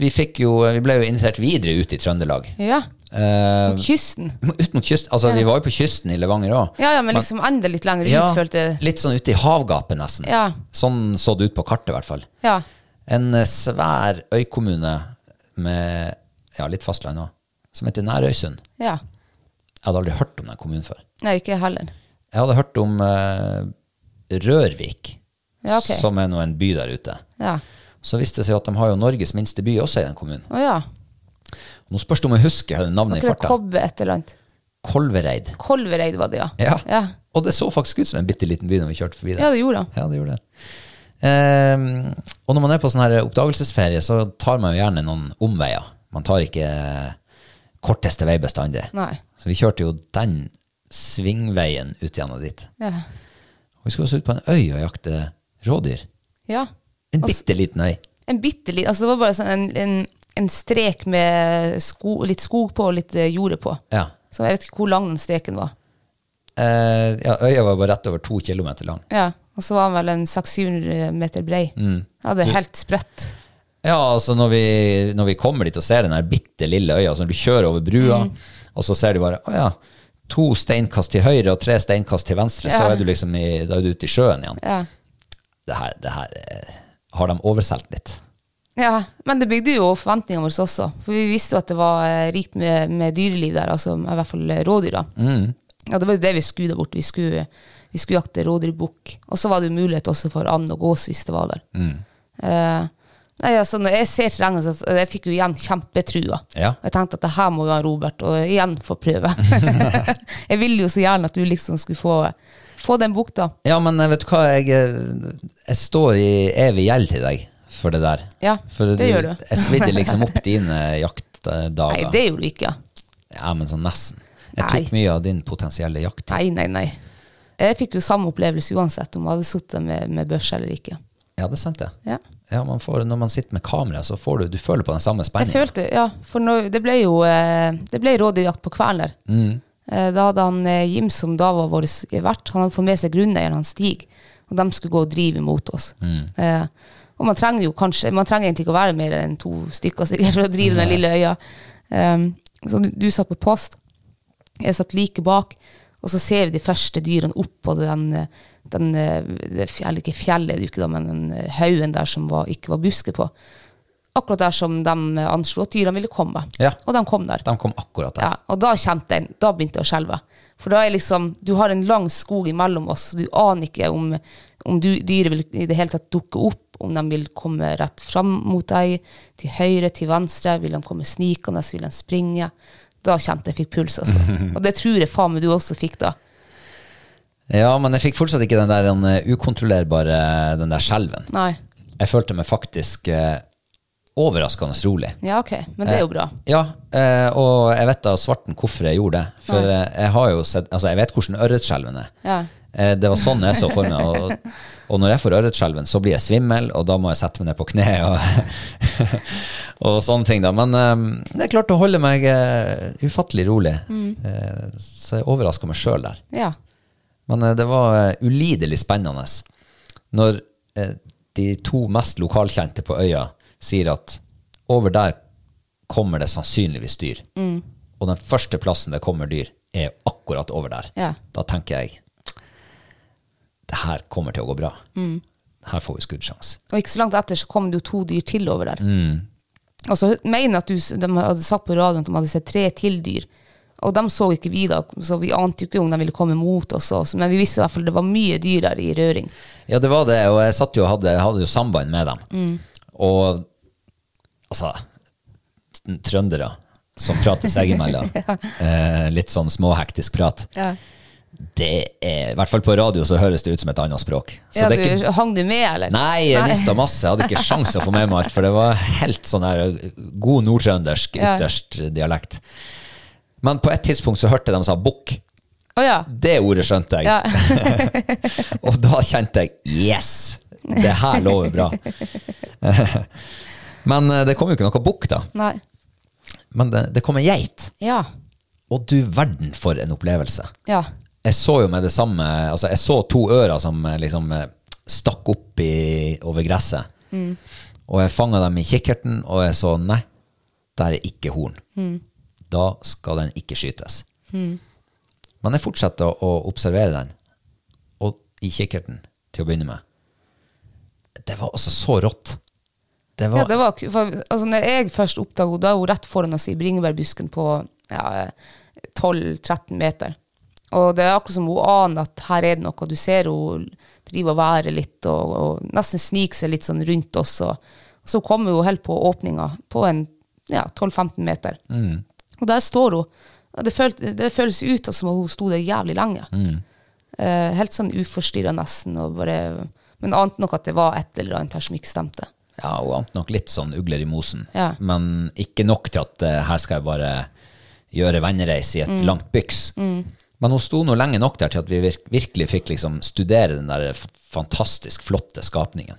vi, fikk jo, eh, vi ble jo invitert videre ut i Trøndelag. ja. Ehm, Mot kysten. ut mot kysten. Altså, vi var jo på kysten i Levanger òg. Ja, ja, men liksom enda litt lenger ut, følte jeg. litt sånn ute i havgapet, nesten. Ja. Sånn så det ut på kartet, i hvert fall. Ja. En eh, svær øykommune med ja, litt fastland òg, som heter Nærøysund. ja. Jeg hadde aldri hørt om den kommunen før. Nei, ikke jeg heller. Jeg hadde hørt om eh, Rørvik, Ja, ok. som er nå en by der ute. Ja. Så viste det seg at de har jo Norges minste by også i den kommunen. Å ja. Nå spørs det om jeg husker navnet i Ikke det farta. kobbe et eller annet? Kolvereid. Kolvereid var det, ja. Ja. Ja, Og det så faktisk ut som en bitte liten by når vi kjørte forbi der. ja det gjorde han. Ja, det gjorde det. Ehm, og når man er på sånn her oppdagelsesferie, så tar man jo gjerne noen omveier. Man tar ikke korteste vei bestandig. Nei. Så vi kjørte jo den svingveien ut gjennom dit. Ja. Og vi skulle også ut på en øy og jakte rådyr. ja. En Og s- bitte liten øy. En bitte liten Altså, det var bare sånn en, en, en strek med sko, litt skog på og litt eh, jorde på. Ja. Så jeg vet ikke hvor lang den streken var. Eh, ja, øya var bare rett over to kilometer lang. Ja, Og så var den vel en 600-700 meter brei. Ja, Mm. det er helt sprøtt. Ja, altså når vi, når vi kommer dit og ser den her bitte lille øya, så når du kjører over brua, og så ser du bare, å ja, to steinkast til høyre og tre steinkast til venstre, så Ja. er du liksom i, da er du ute i sjøen igjen. Ja. Det her, det her eh, har de overselt litt. ja. Men det bygde jo forventningene våre også. For vi visste jo at det var eh, rikt med, med dyreliv der, altså i hvert fall eh, rådyr. da. Mm. Ja, det var jo det vi skulle der borte. Vi skulle, vi skulle jakte rådyrbukk. Og så var det jo mulighet også for and og gås hvis det var der. Mm. Eh, nei, altså, når jeg ser terrenget, så eh, jeg fikk jo igjen kjempetrua. Ja. Og Jeg tenkte at det her må jo han Robert og igjen få prøve. jeg ville jo så gjerne at du liksom skulle få, få den bukta. Ja, men eh, vet du hva, jeg, eh, jeg står i evig gjeld til deg for det der. Ja, for det gjør du. Jeg svidde liksom opp dine jaktdager. Nei, det gjorde du ikke. Ja, men sånn nesten. Jeg Nei. tok mye av din potensielle jakt. Nei, nei, nei. Jeg fikk jo samme opplevelse uansett om jeg hadde sittet med, med børs eller ikke. Ja, det er sant det. Ja. Ja, man får, når man sitter med kamera, så får du, du føler på den samme Jeg spenningen. følte, ja, for når, det ble jo eh, det ble rådyrjakt på Kværner. Mm. Eh, Da hadde han eh, Jim, som da var vår vert, han hadde fått med seg grunneieren, han Stig, og de skulle gå og drive mot oss. Eh, og man trenger jo kanskje, man trenger egentlig ikke å være mer enn to stykker sikkert for å drive den lille øya. Eh, så du, du satt på post, jeg satt like bak, og så ser vi de første dyrene opp på den, eh, den eh, det fjell, ikke fjellet, det er jo ikke da, men den eh, haugen der som var, ikke var busker på. Akkurat der som de anslo at dyrene ville komme. Ja. Og de kom der. De kom akkurat der. Ja, og da kjente jeg, da begynte jeg å skjelve. For da er liksom, du har en lang skog imellom oss, og du aner ikke om, om du, dyret vil i det hele tatt dukke opp, om de vil komme rett fram mot deg, til høyre, til venstre, vil de komme snikende, vil de springe. Da kjente jeg fikk puls, altså. Og det tror jeg faen meg du også fikk da. Ja. men jeg fikk fortsatt ikke den der den, eh, ukontrollerbare den der skjelven. Nei. Jeg følte meg faktisk eh, overraskende rolig. Ja, ok. Men det er jo bra. Ja, eh, og jeg vet da svarten hvorfor jeg gjorde det. For eh, jeg har jo sett, altså jeg vet hvordan ørretskjelven er. Ja. Eh, Det var sånn jeg så for meg. Og, og når jeg får ørretskjelven, så blir jeg svimmel, og da må jeg sette meg ned på kne og, og sånne ting. da. Men eh, det er klart å holde meg eh, ufattelig rolig. Eh, så jeg overraska meg sjøl der. Ja. Men eh, det var eh, ulidelig spennende når eh, de to mest lokalkjente på øya sier at over der kommer det sannsynligvis dyr. Og den første plassen det kommer dyr, er akkurat over der. Ja. Da tenker jeg det her kommer til å gå bra. Her får vi skuddsjanse. Og ikke så langt etter så kom det jo to dyr til over der. Mm. Og så mener jeg at du, s- de hadde sagt på radioen at de hadde sett tre til dyr. Og dem så ikke vi da, så vi ante jo ikke om de ville komme mot oss. Også. Men vi visste i hvert fall det var mye dyr der i røring. Ja, det var det, og jeg satt jo og hadde, hadde jo samband med dem. Og altså t- Trøndere som prater seg imellom. eh, litt sånn småhektisk prat. Det er, I hvert fall på radio så høres det ut som et annet språk. Så Ja, det er ikke, du, hang du med, eller? Nei, jeg mista masse. Jeg hadde ikke sjanse å få med meg alt, for det var helt sånn her god nordtrøndersk Ja. ytterst dialekt. Men på et tidspunkt så hørte jeg de sa 'bukk'. Å ja. Det ordet skjønte jeg. ja. Og da kjente jeg Yes! Det her lover bra. Men eh, det kom jo ikke noe bukk, da. Nei. Men det, det kom en geit. Ja. Og du verden for en opplevelse. Ja. Jeg så jo med det samme Altså, jeg så to ører som eh, liksom eh, stakk opp i, over gresset. Og jeg fanga dem i kikkerten, og jeg så nei, der er ikke horn. Da skal den ikke skytes. Men jeg fortsatte å, å observere den, og i kikkerten til å begynne med. Det var altså så rått. Det var, ja det var, ku- for, altså, når jeg først oppdaga henne, da er hun rett foran oss i bringebærbusken på ja, 12-13 meter. Og det er akkurat som hun aner at her er det noe. Du ser hun driver og værer litt og, og nesten sniker seg litt sånn rundt oss. Og, så kommer hun helt på åpninga på en ja, 12-15 meter. Og der står hun. Og det, følt, det føles jo ut som om hun sto der jævlig lenge. Eh, helt sånn uforstyrra nesten. Og bare, men ante nok at det var et eller annet her som ikke stemte. Ja, hun ante nok litt sånn ugler i mosen. Ja. Men ikke nok til at eh, her skal jeg bare gjøre vennereis i et langt byks. Men hun sto nå lenge nok der til at vi virk virkelig fikk liksom studere den der f- fantastisk flotte skapningen.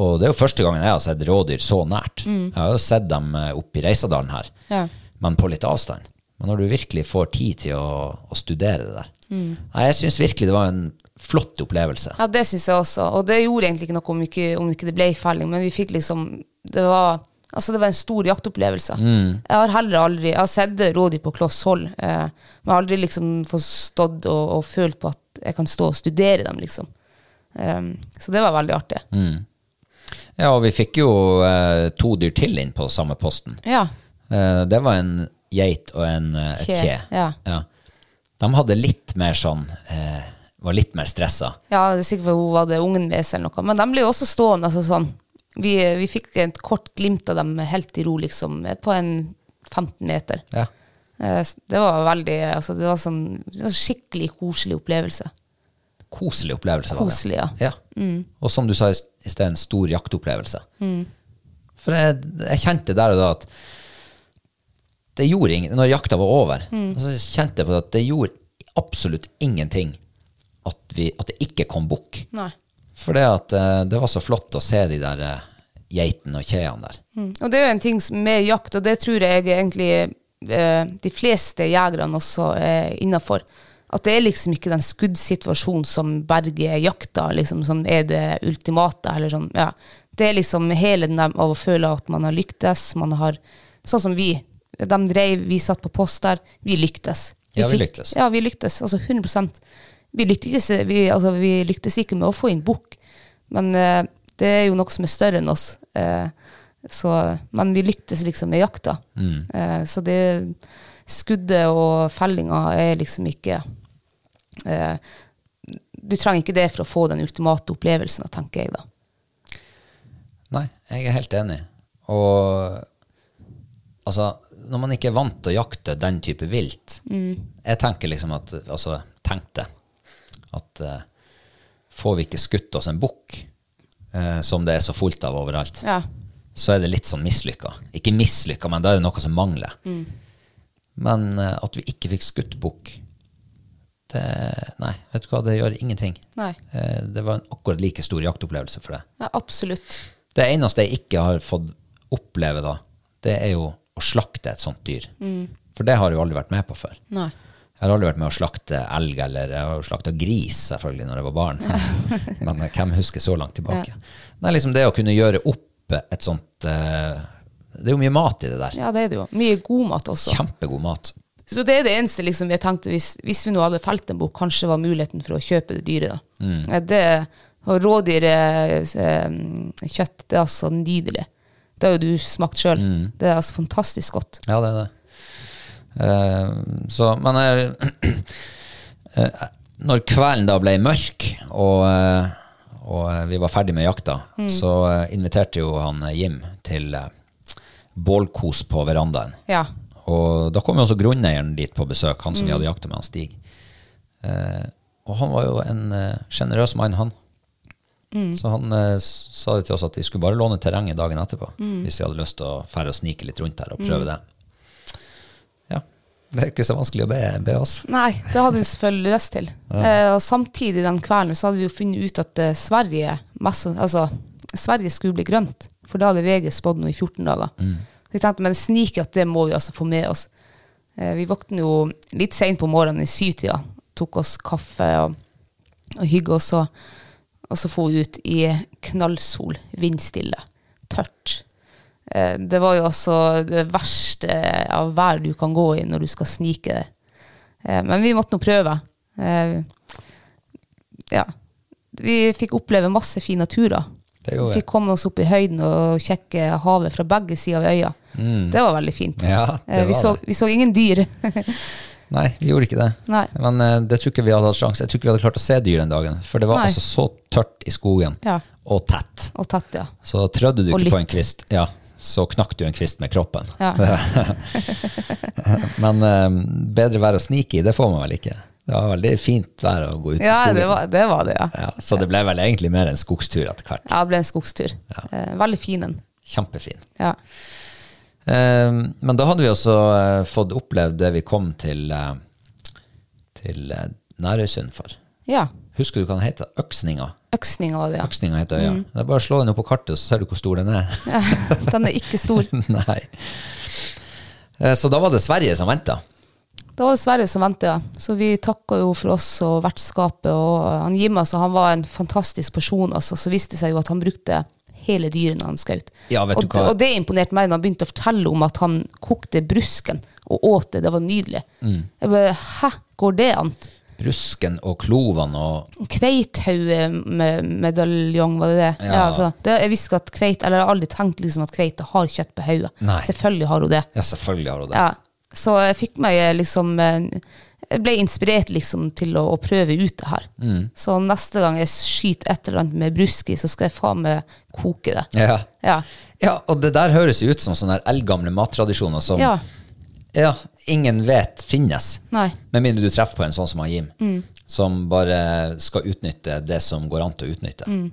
Og det er jo første gangen jeg har sett rådyr så nært. Jeg har jo sett dem eh, oppe i Reisadalen her, Ja. men på litt avstand. Men når du virkelig får tid til å, å studere det der Nei, Jeg syns virkelig det var en flott opplevelse. Ja, det syns jeg også. Og det gjorde egentlig ikke noe om ikke, om ikke det ble felling, men vi fikk liksom Det var, altså det var en stor jaktopplevelse. Mm. Jeg har heller aldri Jeg har sett rådyr på kloss hold, eh, men jeg har aldri liksom forstått og, og følt på at jeg kan stå og studere dem, liksom. Em, så det var veldig artig. Mm. Ja, og vi fikk jo eh, to dyr til inn på samme posten. Ja. Eh, det var en geit og en, eh, et Kje, kje. ja. De hadde litt mer sånn eh, Var litt mer stressa. Ja, det er sikkert fordi hun hadde ungen med seg eller noe. Men de ble jo også stående altså sånn. Vi, vi fikk et kort glimt av dem helt i ro, liksom, på en 15 meter. Ja. Eh, s- Det var veldig, altså det var sånn det var en skikkelig koselig opplevelse. Koselig opplevelse. Koselig, ja. Mm. var det. ja. Og som du sa i s- i sted, en stor jaktopplevelse. For jeg, jeg kjente der og da at det gjorde ingen, Når jakta var over, Mm. så kjente jeg på det at det gjorde absolutt ingenting at, vi, at det ikke kom bukk. Nei. For det, at, eh, det var så flott å se de der eh, geitene og kjeene der. Mm. Og det er jo en ting som- med jakt, og det tror jeg egentlig eh, de fleste jegerne også er innafor. At det er liksom ikke den skuddsituasjonen som berger jakta, liksom, som er det ultimate. Eller sånn, ja. Det er liksom hele den der av å føle at man har lyktes, man har Sånn som vi. De dreiv, vi satt på post der. Vi lyktes. Ja, vi fikk- lyktes. Ja, vi lyktes. Altså 100 Vi lyktes, vi, altså, vi lyktes ikke med å få inn bukk, men eh, det er jo noe som er større enn oss. Eh, så, men vi lyktes liksom med jakta. Eh, så det skuddet og fellinga er liksom ikke eh, Du trenger ikke det for å få den ultimate opplevelsen, tenker jeg da. Nei, jeg er helt enig. Og altså, når man ikke er vant til å jakte den type vilt Jeg tenker liksom at Altså, tenkte at eh, får vi ikke skutt oss en bukk, eh, som det er så fullt av overalt, Ja. så er det litt sånn mislykka. Ikke mislykka, men da er det noe som mangler. Men eh, at vi ikke fikk skutt bukk, det Nei, vet du hva, det gjør ingenting. Nei. Eh, det var en akkurat like stor jaktopplevelse for det. Ja, absolutt. Det eneste jeg ikke har fått oppleve, da, det er jo å slakte et sånt dyr. For det har jeg jo aldri vært med på før. Nei. Jeg har aldri vært med å slakte elg, eller jeg har jo slakta gris selvfølgelig når jeg var barn. Men eh, hvem husker så langt tilbake? Nei, liksom det å kunne gjøre opp et sånt eh, Det er jo mye mat i det der. Ja, det er det jo. Mye god mat også. Kjempegod mat. Så det er det eneste liksom, jeg tenkte, hvis, hvis vi nå hadde felt en bok, kanskje var muligheten for å kjøpe det dyret. Da. Eh, Det, og rådyr eh, kjøtt, det er altså nydelig. Det har jo du smakt sjøl. Det er altså fantastisk godt. Ja, det er det. Eh, så, men jeg, eh, når kvelden da ble mørk, og, eh, og eh, vi var ferdig med jakta, så eh, inviterte jo han eh, Jim til eh, bålkos på verandaen. Ja. Og da kom jo også grunneieren dit på besøk, han som vi Mm. hadde jakta med, han Stig. Eh, og han var jo en eh, sjenerøs mann, han. Mm. Så han eh, sa jo til oss at vi skulle bare låne terrenget dagen etterpå, Mm. hvis vi hadde lyst til å fære og snike litt rundt her og prøve det. Ja, det er ikke så vanskelig å be, be oss. Nei, det hadde vi selvfølgelig lyst til. Eh, og samtidig den kvelden så hadde vi jo funnet ut at eh, Sverige, masse, altså, Sverige skulle bli grønt. For da hadde VG spådd noe i 14 dager. Så vi tenkte, men snik at det må vi altså få med oss. Eh, vi våknet jo litt sent på morgenen i syvtida. Tok oss kaffe og, og hygge oss. Og, og så for vi ut i knallsol, vindstille, tørt. Eh, det var jo altså det verste av vær du kan gå i når du skal snike deg. Eh, Men vi måtte nå prøve. Eh, Ja. Vi fikk oppleve masse fin natur da. Det gjorde Vi vi. fikk komme oss opp i høyden og sjekke havet fra begge sider av øya. Det var veldig fint. mm. Ja, det Eh, vi, var så, det. vi så ingen dyr. Nei, vi gjorde ikke det. Nei. Men eh, det tror ikke vi hadde hatt sjanse. Jeg tror ikke vi hadde klart å se dyr den dagen, for det var Nei. altså så tørt i skogen, Ja. og tett. og tett, ja. Så trødde du Og ikke på litt. en kvist. Ja, så knakk du en kvist med kroppen. Ja. Men eh, bedre vær å snike i, det får man vel ikke. Det var veldig fint vær å gå ut i Ja, skogen. det var det, var det ja. Ja, så det ble vel egentlig mer en skogstur etter hvert. Ja, det ble en skogstur. Eh, veldig fin en. Kjempefin. Ja. Eh, men da hadde vi også eh, fått opplevd det vi kom til, eh, til eh, Nærøysund for. ja. Husker du hva den heter? Øksninga. Øksninga var det, ja. Mm. Øksninga heter øya. Det er bare å slå den opp på kartet, så ser du hvor stor den er. Den er ikke stor. Nei. Eh, Så da var det Sverige som venta. Det var det Sverre som ventet, ja. Så vi takka jo for oss og vertskapet. Og eh, han Jim altså, han var en fantastisk person, altså. Så viste det seg jo at han brukte hele dyret når han skjøt. Ja, vet og, du hva? det- og det imponerte meg da han begynte å fortelle om at han kokte brusken og åt det. Det var nydelig. Mm. Jeg bare Hæ, går det an? Brusken og klovene og Kveithauemedaljong, var det det? Ja. altså, det? Jeg visste ikke at kveit, eller jeg har aldri tenkt liksom at kveite har kjøtt på hodet. Nei. Selvfølgelig har hun det. Ja, selvfølgelig har hun det. Ja. Så jeg fikk meg eh, liksom eh, Jeg ble inspirert liksom til å, å prøve ut det her. Mm. Så neste gang jeg skyter et eller annet med brusk i, så skal jeg faen meg koke det. Ja. Ja. ja, og det der høres jo ut som sånne her eldgamle mattradisjoner som ja. Ja, ingen vet finnes. Nei. Med mindre du treffer på en sånn som han Jim, Mm. som bare skal utnytte det som går an til å utnytte. Mm.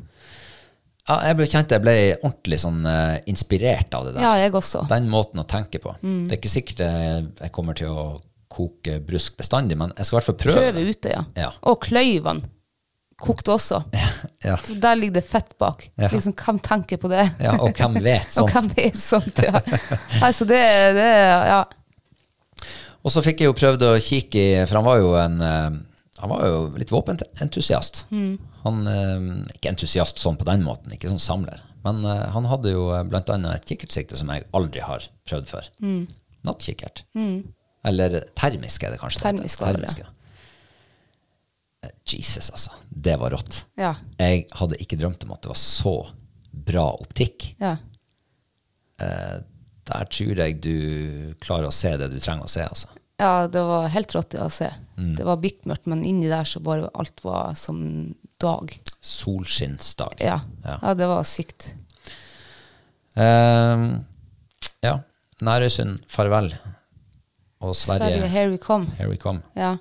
Ja, jeg ble, kjente jeg ble ordentlig sånn eh, inspirert av det der. Ja, Mm. jeg også. Den måten å tenke på. Det er ikke sikkert jeg, jeg kommer til å koke brusk bestandig, men jeg skal i hvert fall prøve. Prøve ut det, ja. Ja. Og kløyvene kokte også. Ja. Så der ligger det fett bak. Ja. Liksom, hvem tenker på det? ja, og hvem vet sånn Og sånt. hvem er sånt, ja. Altså, det, det ja. Og så fikk jeg jo prøvd å kikke i For han var jo en eh, Han var jo litt våpenentusiast. Mm. Han eh, Ikke entusiast sånn på den måten, ikke sånn samler. Men eh, han hadde jo eh, blant annet et kikkertsikte som jeg aldri har prøvd før. Mm. Nattkikkert. Eller termisk er det kanskje. det heter. Termisk var det, Termisk, ja. Eh, Jesus, altså. Det var rått. Ja. Jeg hadde ikke drømt om at det var så bra optikk. ja. Eh, der tror jeg du klarer å se det du trenger å se, altså. Ja, det var helt rått å se. Mm. Det var bikkmørkt, men inni der så bare alt var som dag. Solskinnsdag. Ja, Ja. ja. det var sykt. Ehm, ja. Nærøysund, farvel. Og Sverige, Mm. Sverige, here we come. here we come. Ja.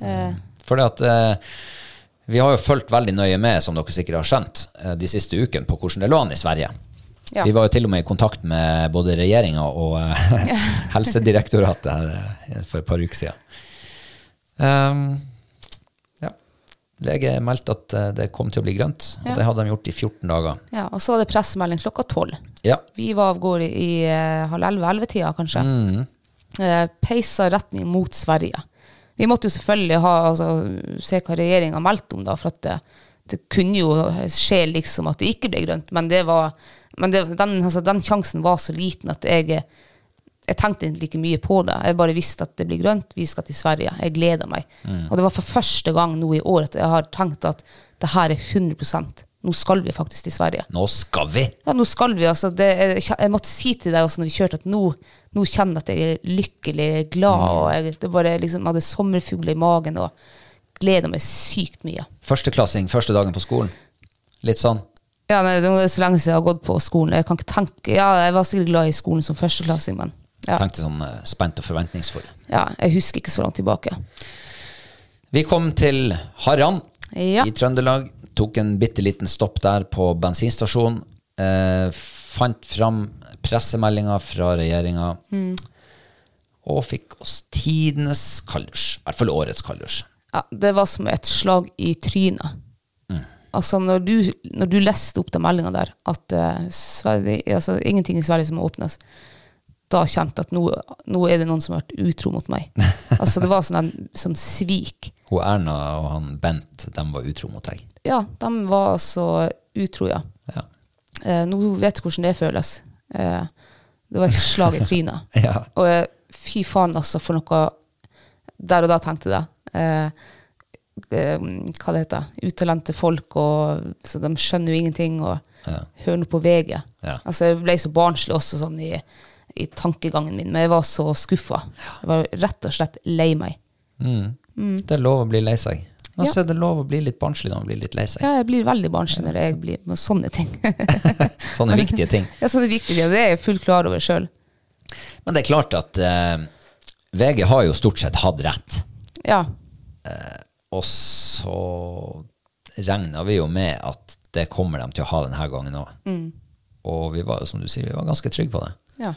Eh, Fordi at eh, vi har jo fulgt veldig nøye med, som dere sikkert har skjønt, eh, de siste ukene på hvordan det lå an i Sverige. Ja. Vi var jo til og med i kontakt med både regjeringa og eh, Helsedirektoratet her eh, for et par uker siden. Ehm, ja. Lege meldte at eh, det kom til å bli grønt, og Ja. det hadde de gjort i 14 dager. ja, og så var det pressemelding klokka tolv. Ja. Vi var av gårde i eh, halv elleve-elleve-tida, kanskje. Eh, peisa retning mot Sverige. Vi måtte jo selvfølgelig ha, altså, se hva regjeringa meldte om, da, for at det, det kunne jo skje liksom at det ikke ble grønt. Men, det var, men det, den, altså, den sjansen var så liten at jeg, jeg tenkte egentlig ikke mye på det. Jeg bare visste at det blir grønt, vi skal til Sverige. Jeg gleder meg. Og det var for første gang nå i år at jeg har tenkt at det her er 100 Nå skal vi faktisk til Sverige. Nå skal vi! Ja, nå skal vi altså det, jeg, jeg måtte si til deg også når vi kjørte at nå, nå kjenner jeg at jeg er lykkelig glad. Og jeg det bare liksom, jeg hadde sommerfugler i magen og gleder meg sykt mye. Førsteklassing, første dagen på skolen. Litt sånn. Ja, nei, Det er så lenge siden jeg har gått på skolen. Jeg kan ikke tenke, ja, jeg var sikkert glad i skolen som førsteklassing, men ja, Tenkte sånn eh, spent og forventningsfull. ja, jeg husker ikke så langt tilbake. Vi kom til Harran Ja. i Trøndelag. Tok en bitte liten stopp der på bensinstasjonen. Eh, fant fram pressemeldinga fra regjeringa. Mm. Og fikk oss tidenes kalddusj. I hvert fall årets kalddusj. Ja, det var som et slag i trynet. Altså, når du, når du leste opp den meldinga der, at eh, Sverige, altså, ingenting i Sverige som må åpnes, da kjente jeg at nå, nå er det noen som har vært utro mot meg. Altså, det var sånn, en, sånn svik. Hun Erna og han Bent de var utro mot deg. Ja, de var altså utro, ja. Ja. Eh, nå vet du hvordan det føles. Eh, det var et slag i trynet. Ja. Og eh, fy faen, altså, for noe Der og da tenkte jeg det. Eh, eh, hva det heter Utalente folk, og så de skjønner jo ingenting. Og Ja. hører noe på VG. Ja. Altså, jeg ble så barnslig også sånn i, i tankegangen min, men jeg var så skuffa. Jeg var rett og slett lei meg. Det er Mm. lov å bli lei seg. Nå Mm. Ja. er det lov å bli litt barnslig når man blir litt lei seg. Ja, jeg blir veldig barnslig når jeg blir med sånne ting. Sånne viktige ting. ja, sånne viktige ting. Det er jeg fullt klar over sjøl. Men det er klart at eh, VG har jo stort sett hatt rett. Ja. Og så regna vi jo med at det kommer de til å ha denne gangen òg. Og vi var jo, som du sier, vi var ganske trygge på det. ja.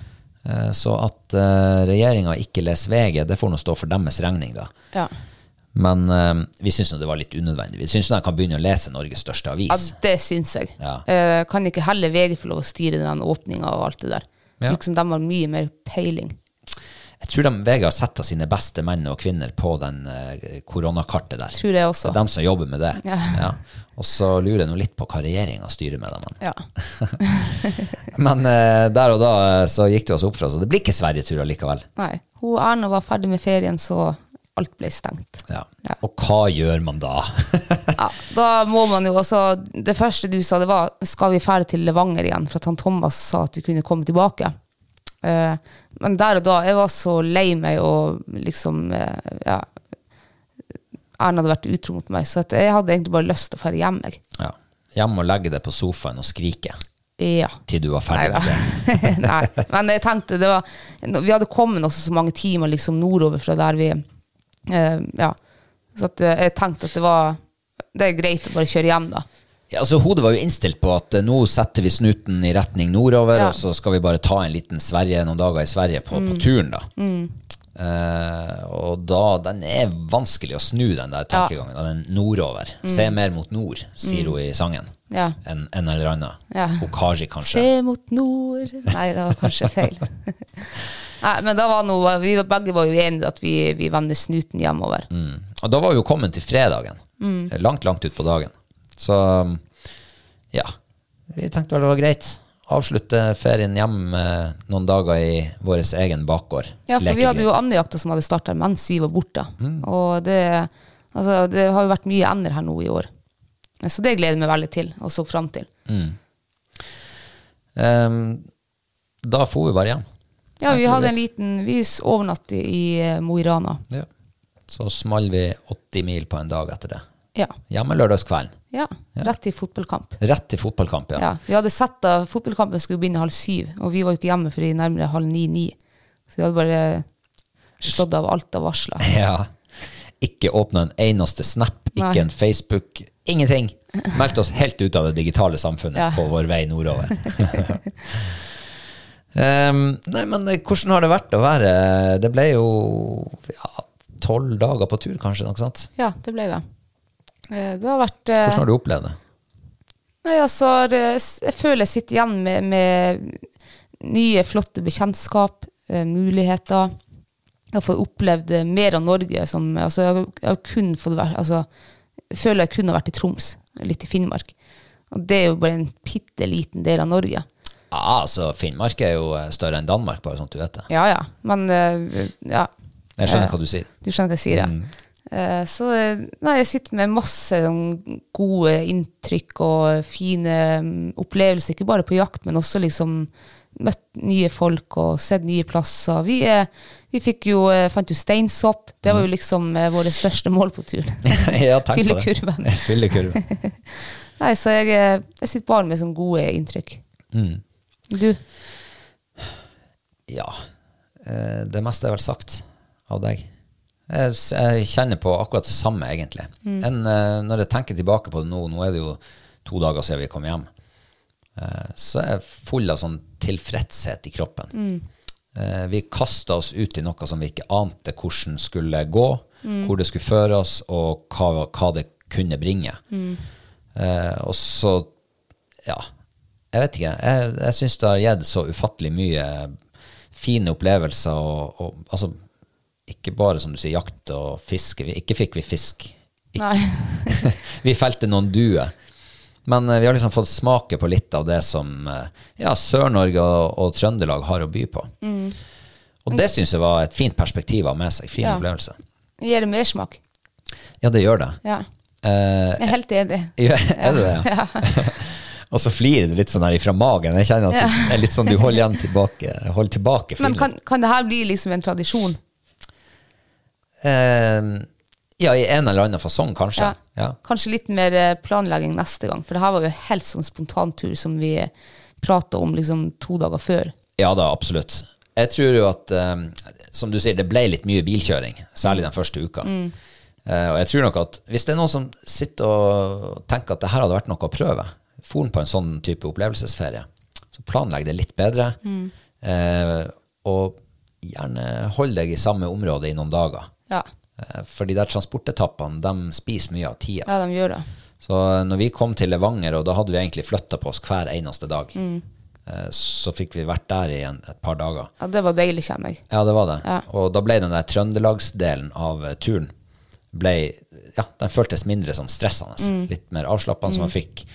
Eh, Så at uh, regjeringa ikke leser VG, det får nå stå for deres regning, da. Ja. Men eh, vi syns det var litt unødvendig. Vi syns de kan begynne å lese Norges største ja, avis. det syns jeg. Ja. Eh, kan ikke heller VG få lov å styre den åpninga og alt det der. Ja. Liksom, de har mye mer peiling. Jeg tror de VG har sett av sine beste menn og kvinner på den eh, koronakartet der. Tror jeg Det også. er dem som jobber med det. Ja. Og så lurer jeg nå litt på hva regjeringa styrer med dem. Ja. Men eh, der og da eh, så gikk det oss opp for oss, og det blir ikke sverigetur allikevel. Nei. Hun Erna var ferdig med ferien, så alt ble stengt. Ja. Ja. Og hva gjør man da? Ja, da må man jo også Det første du sa, det var skal vi fære til Levanger igjen? For at han Thomas sa at vi kunne komme tilbake. Eh, men der og da, jeg var så lei meg og liksom eh, ja, Erna hadde vært utro mot meg, så at jeg hadde egentlig bare lyst til å dra hjem. Jeg. ja. Hjem og legge deg på sofaen og skrike Ja. til du var Nei ferdig da. med det. Nei. Men jeg tenkte det var Vi hadde kommet også så mange timer liksom nordover fra der vi eh, Ja. Så at eh, jeg tenkte at det var Det er greit å bare kjøre hjem, da. Ja, altså, hodet var jo innstilt på at eh, nå setter vi snuten i retning nordover, Ja. Mm. og så skal vi bare ta en liten Sverige, noen dager i Sverige på, på turen, da. Eh, og da, den er vanskelig å snu, den der tankegangen. da, Den nordover. Se Mm. mer mot nord, sier hun i sangen. Ja. En, en eller annen. Mm. Ja. Okaji, kanskje. Se mot nord Nei, det var kanskje feil. Nei, men da var noe, vi var- begge var jo enige at vi, vi vender snuten hjemover. Mm. Og da var vi jo kommet til fredagen. Mm. Langt, langt ut på dagen. Så mm, ja, vi tenkte vel det var greit. Avslutte ferien hjem eh, noen dager i vår egen bakgård. Ja, for vi hadde Lekegrind. jo andejakta som hadde starta mens vi var borte. Og det, altså, det har jo vært mye ender her nå i år. Så det gleder jeg meg veldig til, og så fram til. Ehm, Da for vi bare hjem. Ja, vi Enkelt og hadde en greit. liten Vi s- overnattet i eh, Mo i Rana. Så small vi 80 mil på en dag etter det. Ja. Hjemme lørdagskvelden. ja. Rett til fotballkamp. Rett til fotballkamp, ja. Ja. Vi hadde sett at fotballkampen skulle begynne halv syv, og vi var jo ikke hjemme før i nærmere halv ni-ni. Så vi hadde bare slått av alt av varsler. Ja. Ikke åpna en eneste Snap, ikke Nei. en Facebook, ingenting. Meldte oss helt ut av det digitale samfunnet Ja. på vår vei nordover. Ehm, nei, men eh, hvordan har det vært å være Det ble jo ja, tolv dager på tur, kanskje? Noe sånt. Ja, det ble det. Eh, Det har vært eh, Hvordan har du opplevd det? Nei, altså, det, jeg føler jeg sitter igjen med, med nye, flotte bekjentskap, eh, muligheter. Jeg har fått opplevd eh, mer av Norge som altså, jeg, har- jeg har kun fått vært altså, Jeg føler jeg kun har vært i Troms, litt i Finnmark. Og det er jo bare en bitte liten del av Norge. Ja, altså, Finnmark er jo eh, større enn Danmark, bare sånn at du vet det. Ja ja, men eh, ja, Jeg skjønner hva du sier. du skjønner hva jeg sier, ja. Mm. Eh, Så eh, nei, jeg sitter med masse sånn gode inntrykk og fine mm, opplevelser, ikke bare på jakt, men også liksom møtt nye folk og sett nye plasser. Vi, eh, vi fikk jo, eh, fant jo steinsopp, det var jo liksom eh, våre største mål på turen. Mm. ja, tenk på det. Fyllekurven. Fyllekurven. Nei, så jeg, eh, jeg sitter bare med sånne gode inntrykk. Mm. Du? Ja. eh, Det meste er vel sagt av deg. Jeg, s- jeg kjenner på akkurat det samme, egentlig. Enn, eh, når jeg tenker tilbake på det nå, nå er det jo to dager siden vi kom hjem, eh, så er jeg full av sånn tilfredshet i kroppen. Eh, Vi kasta oss ut i noe som vi ikke ante hvordan skulle gå, hvor det skulle føre oss, og hva, hva det kunne bringe. Eh, og så ja, jeg vet ikke. Jeg, jeg syns det har gitt så ufattelig mye fine opplevelser. Og, og altså, ikke bare som du sier, jakt og fiske. Vi, ikke fikk vi fisk. Ikke, Nei. vi felte noen duer. Men eh, vi har liksom fått smake på litt av det som eh, ja, Sør-Norge og, og Trøndelag har å by på. Og det syns jeg var et fint perspektiv å ha med seg. Fin Ja. opplevelse. Gir det mersmak? Ja, det gjør det. Ja. Eh, Jeg er helt enig. ja, er det det? Ja. og så flirer du litt sånn her ifra magen. Jeg kjenner at det er litt sånn du holder igjen tilbake. Holder tilbake Men fliren. kan, kan det her bli liksom en tradisjon? Eh, Ja, i en eller annen fasong, kanskje. Ja. Ja. Kanskje litt mer eh, planlegging neste gang, for det her var jo en helt sånn spontantur som vi prata om liksom to dager før. Ja da, absolutt. Jeg tror jo at, eh, som du sier, det ble litt mye bilkjøring, særlig den første uka. Eh, og jeg tror nok at hvis det er noen som sitter og tenker at det her hadde vært noe å prøve, foren på en sånn type opplevelsesferie, så planlegg det litt bedre, eh, og gjerne hold deg i samme område i noen dager. Ja, Eh, for de der transportetappene, de spiser mye av tida. ja de gjør det. Så eh, når vi kom til Levanger, og da hadde vi egentlig flytta på oss hver eneste dag, eh, så fikk vi vært der i en, et par dager. Ja, Det var deilig, kjenner jeg. Ja, det var det. Ja. Og da ble den der trøndelagsdelen av eh, turen ble, ja, den føltes mindre sånn stressende. Litt mer avslappende, så man fikk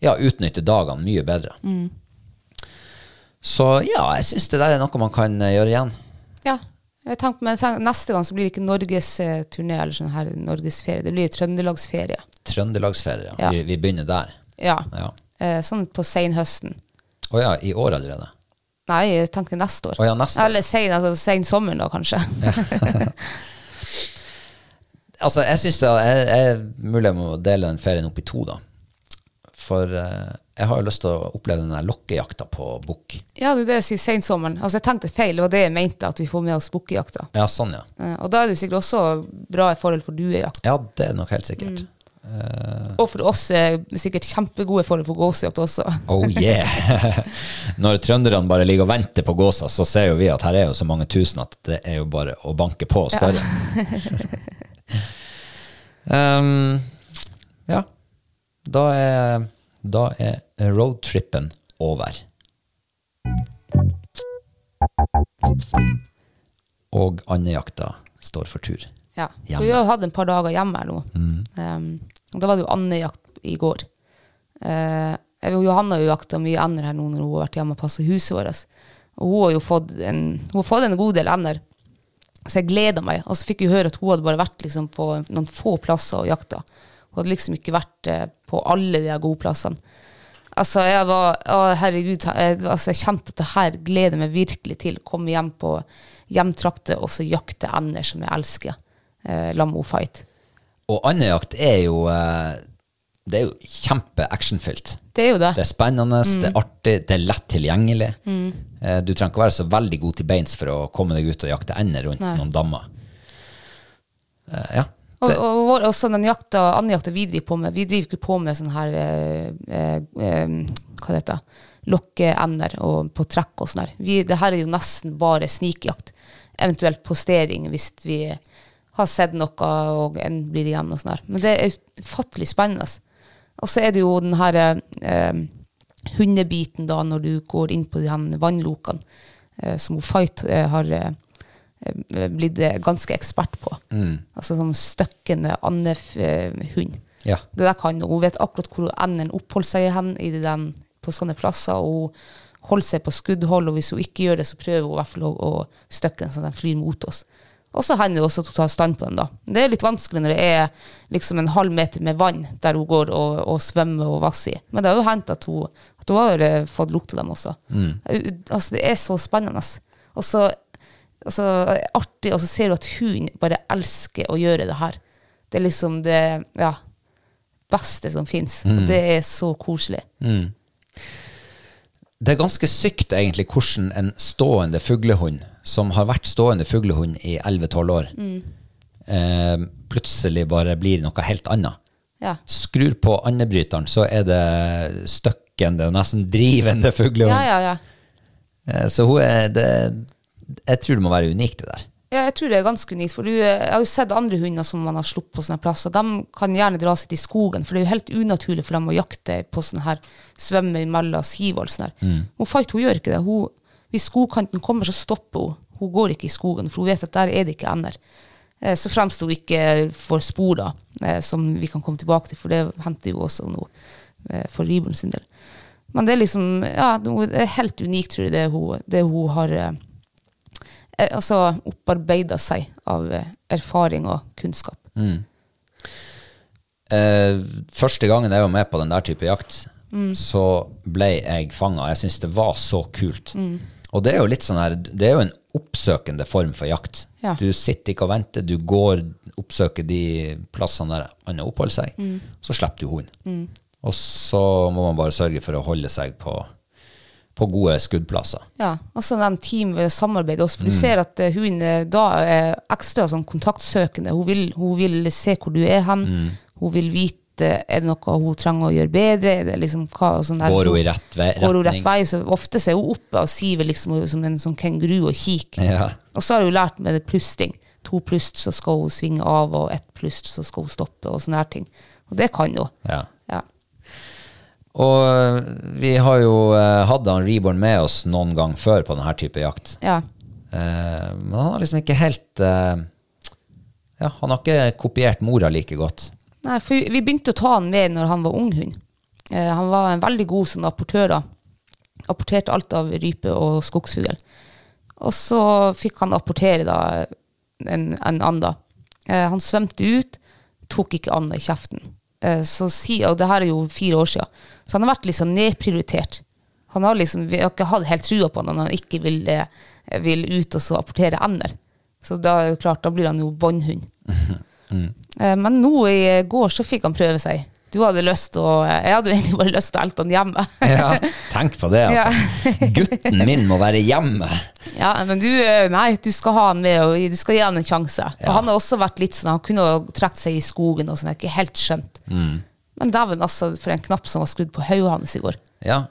ja, utnytte dagene mye bedre. Så ja, jeg syns det der er noe man kan eh, gjøre igjen. Ja. Jeg tenker, men jeg tenker, neste gang så blir det ikke norgesturné eller sånn her norgesferie, det blir trøndelagsferie. Trøndelagsferie, ja. Ja. Vi, vi begynner der. Ja. Ja. Eh, sånn på senhøsten. Å ja, i år allerede. Nei, jeg tenkte neste år. Å ja, neste år. Eller sen, altså, sen sommeren, da, kanskje. Altså, jeg syns det er, er mulig jeg må dele den ferien opp i to, da. For eh, jeg har jo lyst til å oppleve den der lokkejakta på bukk. Ja, du, det sier sensommeren. Altså, jeg tenkte feil, det var det jeg mente, at vi får med oss bukkejakta. Ja, sånn, ja. Eh, Og da er det jo sikkert også bra i forhold for duejakt. Ja, det er nok helt sikkert. Og for oss er det sikkert kjempegode forhold for gåsejakt også. Oh yeah! Når trønderne bare ligger og venter på gåsa, så ser jo vi at her er jo så mange tusen at det er jo bare å banke på og spørre. Ja. um, ja. Da er, da er roadtrippen over. Og andejakta står for tur. Ja. Hjemme. For vi har jo hatt en par dager hjemme her nå. Um, og da var det jo andejakt i går. Eh, jeg og Johanna har jo jakta mye ender her nå når hun har vært hjemme og passa huset vårt. Og hun har jo fått en, hun har fått en god del ender. Så jeg gleda meg. Og så fikk jeg høre at hun hadde bare vært liksom på noen få plasser og jakta. Hun hadde liksom ikke vært eh, på alle de her gode plassene. Altså, jeg var Å, herregud. Jeg, altså, jeg kjente at det her gleder jeg meg virkelig til. Komme hjem på hjemtrakter og så jakte ender som jeg elsker. Eh, Lammo fight. Og andejakt er jo eh, Det er jo kjempe-actionfylt. Det er jo det. Det er spennende, det Mm. er artig, det er lett tilgjengelig. Eh, Du trenger ikke være så veldig god til beins for å komme deg ut og jakte ender rundt noen dammer. Eh, Ja. Og, Det, og vår, også den jakta, andre jakta vi driver på med, vi driver ikke på med sånn her eh, eh, eh, Hva det heter Lokkeender og på trekk og sånn her. Vi, det her er jo nesten bare snikjakt. Eventuelt postering hvis vi har sett noe og en blir igjen og sånn her. Men det er ufattelig spennende. Og så er det jo den her eh, hundebiten da når du går inn på de her vannlokene eh, som Fight eh, har eh, eh, blitt eh, ganske ekspert på. Altså som støkkende eh, andehund. ja. Det der kan hun. Hun vet akkurat hvor enden oppholder seg hen i det den, på sånne plasser. Og hun holder seg på skuddhold, og hvis hun ikke gjør det, så prøver hun i hvert fall å, å støkke den så den flyr mot oss. Og så hender det også at hun tar stand på den. da. Det er litt vanskelig når det er liksom en halv meter med vann der hun går og, og svømmer og vasser i. Men det har jo hendt at hun, at hun har eh, fått lukte dem også. Au- Altså, Det er så spennende. Og så altså, artig, og så ser du at hun bare elsker å gjøre det her. Det er liksom det Ja beste som fins. Og det er så koselig. Mm. det er ganske sykt egentlig hvordan en stående fuglehund, som har vært stående fuglehund i 11-12 år, Mm. eh, plutselig bare blir noe helt annet. Ja. Skrur på andebryteren, så er det støkkende og nesten drivende fuglehund. Ja, ja, ja. Eh, Så hun er det, Jeg tror det må være unikt, det der. Ja, jeg tror det er ganske unikt, for du, eh, jeg har jo sett andre hunder som man har sluppet på sånne plasser. De kan gjerne dra seg til skogen, for det er jo helt unaturlig for dem å jakte på sånn her svømme imellom siv og sånn her. Hun Fight hun gjør ikke det. Hun, hvis skogkanten kommer, så stopper hun. Hun går ikke i skogen, for hun vet at der er det ikke ender. Eh, Så fremst hun ikke får spor, da, eh, som vi kan komme tilbake til, for det henter jo også noe eh, for Ribbon sin del. Men det er liksom Ja, det er helt unikt, tror jeg, det hun, det hun har eh, eh, altså opparbeida seg av eh, erfaring og kunnskap. Eh, første gangen jeg var med på den der type jakt, så ble jeg fanga. Jeg syns det var så kult. Og det er jo litt sånn her Det er jo en oppsøkende form for jakt. Ja. Du sitter ikke og venter, du går, oppsøker de plassene der andre oppholder seg, så slipper du hunden. Og så må man bare sørge for å holde seg på, på gode skuddplasser. Ja, også Altså, den teamsamarbeidet også, Mm. for du ser at eh, hun eh, da er ekstra sånn kontaktsøkende. Hun vil, hun vil se hvor du er hen, Mm. hun vil vite er det noe hun trenger å gjøre bedre, er det liksom hva og sånn der. Går hun liksom, i rett ve- Går hun rett retning? vei, så ofte så er hun oppe og siver liksom som en sånn kenguru og kik. Ja. Og så har hun lært med det plusting. To plust, så skal hun svinge av, og ett plust, så skal hun stoppe, og sånne her ting. Og det kan hun. Ja. Ja. Og eh, vi har jo eh, hatt han Reborn med oss noen gang før på denne type jakt. ja. Eh, men han har liksom ikke helt eh, Ja, han har ikke kopiert mora like godt. Nei, for vi begynte å ta han med når han var ung hund. Eh, han var en veldig god sånn apportør da. Apporterte alt av rype og skogsfugl. Og så fikk han apportere da en, en and da. Eh, han svømte ut, tok ikke anda i kjeften. Eh, så si, og det her er jo fire år siden. Så han har vært litt sånn nedprioritert. Han har liksom, vi har ikke hatt helt trua på han når han ikke vil, eh, vil ut og så apportere ender. Så da er det jo klart, da blir han jo båndhund. Eh, Men nå i går så fikk han prøve seg. Du hadde lyst til å Jeg hadde jo egentlig bare lyst til å elte han hjemme. Ja, tenk på det, altså. Gutten min må være hjemme. Ja, men du eh, Nei, du skal ha han med, og du skal gi han en sjanse. Ja. Og han har også vært litt sånn Han kunne ha trukket seg i skogen og sånn, jeg har ikke helt skjønt. Mm. Men dæven, altså, for en knapp som var skrudd på hodet hans i går. Ja,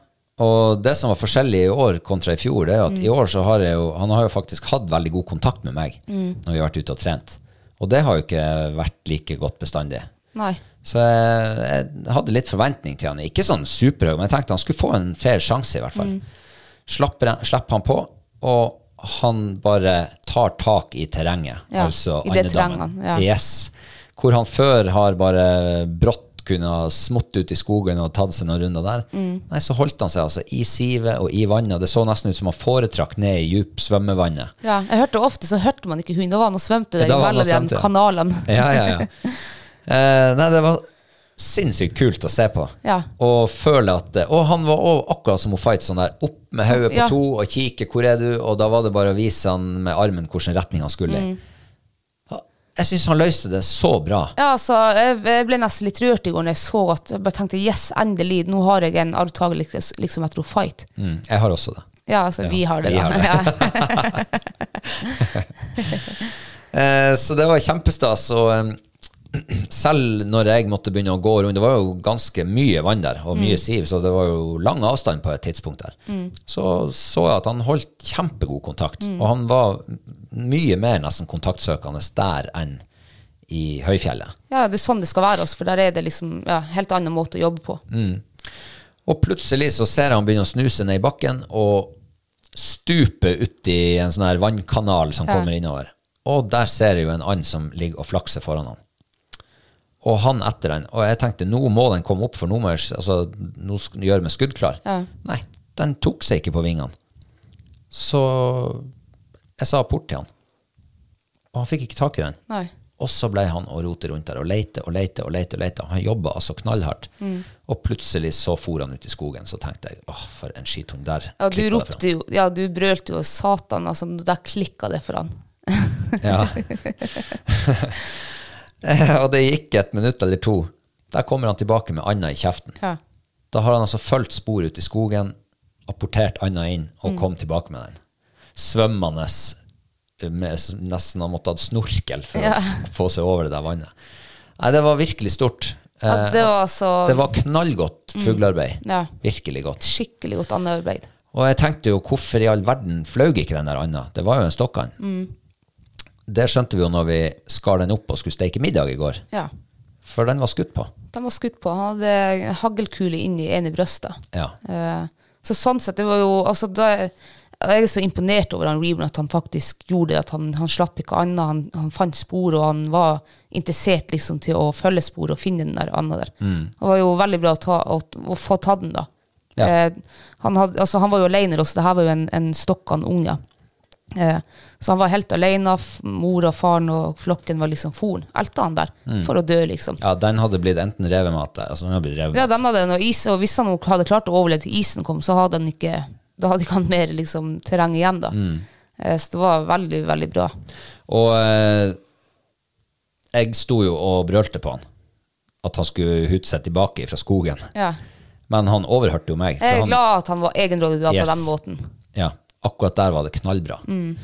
og det som var forskjellig i år kontra i fjor, det er jo at i år så har jeg jo, han har jo faktisk hatt veldig god kontakt med meg når vi har vært ute og trent. Og det har jo ikke vært like godt bestandig. Nei. Så jeg, jeg hadde litt forventning til han. Ikke sånn superhøy, men jeg tenkte han skulle få en fair sjanse, i hvert fall. Mm. Slapper han- Slipper han på, og han bare tar tak i terrenget. Ja, altså i det andedammen. terrenget, ja. Yes. Hvor han før har bare brått kunne ha smått ut i skogen og tatt seg noen runder der. Mm. Nei, så holdt han seg altså i sivet og i vannet. Det så nesten ut som han foretrakk ned i djup svømmevannet. Ja, jeg hørte Ofte så hørte man ikke hunden. Da var han og svømte der Da var han og mellom svømte, de ja. kanalene. Ja, ja, ja. Eh, nei, det var sinnssykt kult å se på. Ja. Og føle at eh, Og han var også akkurat som hun Fight, sånn der opp med hodet på Ja. to og kikke 'hvor er du?' Og da var det bare å vise han med armen hvilken retning han skulle Mm. i. Jeg syns han løste det så bra. Ja, altså, jeg jeg ble nesten litt rørt i går når jeg så at Jeg bare tenkte yes, endelig, nå har jeg en arvtaker liksom, liksom etter å fight. Mm, jeg har også det. Ja, altså, vi har det, vi da. har det. Eh, Ja. så det var kjempestas. Og eh, selv når jeg måtte begynne å gå rundt, det var jo ganske mye vann der, og mye siv, så det var jo lang avstand på et tidspunkt der, så så jeg at han holdt kjempegod kontakt. Og han var mye mer nesten kontaktsøkende der enn i høyfjellet. ja, det er sånn det skal være, altså, for der er det liksom ja, helt annen måte å jobbe på. Mm. Og plutselig så ser jeg han begynne å snuse ned i bakken og stupe uti en sånn her vannkanal som kommer innover. Og der ser jeg jo en and som ligger og flakser foran han. Og han etter den. Og jeg tenkte nå må den komme opp, for nå må jeg altså, nå sk- gjøre meg skuddklar. Nei, den tok seg ikke på vingene. Så jeg sa port til han. Og han fikk ikke tak i den. Nei. Og så ble han å rote rundt der og leite og leite og leite. og leite. Han jobba altså knallhardt. Mm. Og plutselig så for han ut i skogen. Så tenkte jeg åh, for en skithund der. Ja, du klippet det ropte jo, ja, du brølte jo 'satan', altså, der klikka det for han. fra. Ja. og det gikk et minutt eller to. Der kommer han tilbake med anda i kjeften. Ja. Da har han altså fulgt spor ut i skogen, apportert anda inn og Mm. kom tilbake med den. Svømmende. Med, nesten han måtte ha hatt snorkel for å f- få seg over det der vannet. Nei, det var virkelig stort. Ja, Eh, det var så Det var knallgodt Mm. fuglearbeid. Ja. Virkelig godt. skikkelig godt andarbeid. Og jeg tenkte jo, hvorfor i all verden fløy ikke den der anda? Det var jo en stokkand. Mm. Det skjønte vi jo når vi skar den opp og skulle steke middag i går. Ja. For den var skutt på. De var skutt på. Han hadde haglkule inn i ene brøstet. Ja. Eh, Så sånn sett, det var jo altså, da, Jeg er så imponert over han Reeburn at han faktisk gjorde det. At han, han slapp ikke annet. Han, han fant spor, og han var interessert liksom, til å følge spor og finne den der anda der. Det var jo veldig bra å, ta, å, å få tatt den, da. Ja. Eh, han, hadde, altså, han var jo aleine, så det her var jo en, en stokkan unge. Eh, så han var helt aleine. Mor og faren og flokken var liksom foren. Elta han der for å dø, liksom. ja, den hadde blitt enten revemat altså den hadde blitt revemat. Ja, den hadde noe is, og hvis han Mm. hadde klart å overleve til isen kom, så hadde han ikke da hadde ikke han mer liksom, terreng igjen. da. Eh, Så det var veldig, veldig bra. Og eh, jeg sto jo og brølte på han. At han skulle hute seg tilbake fra skogen. Men han overhørte jo meg. for Jeg er han- glad at han var egenrådig da Yes. på den måten. Ja, akkurat der var det knallbra. Nei,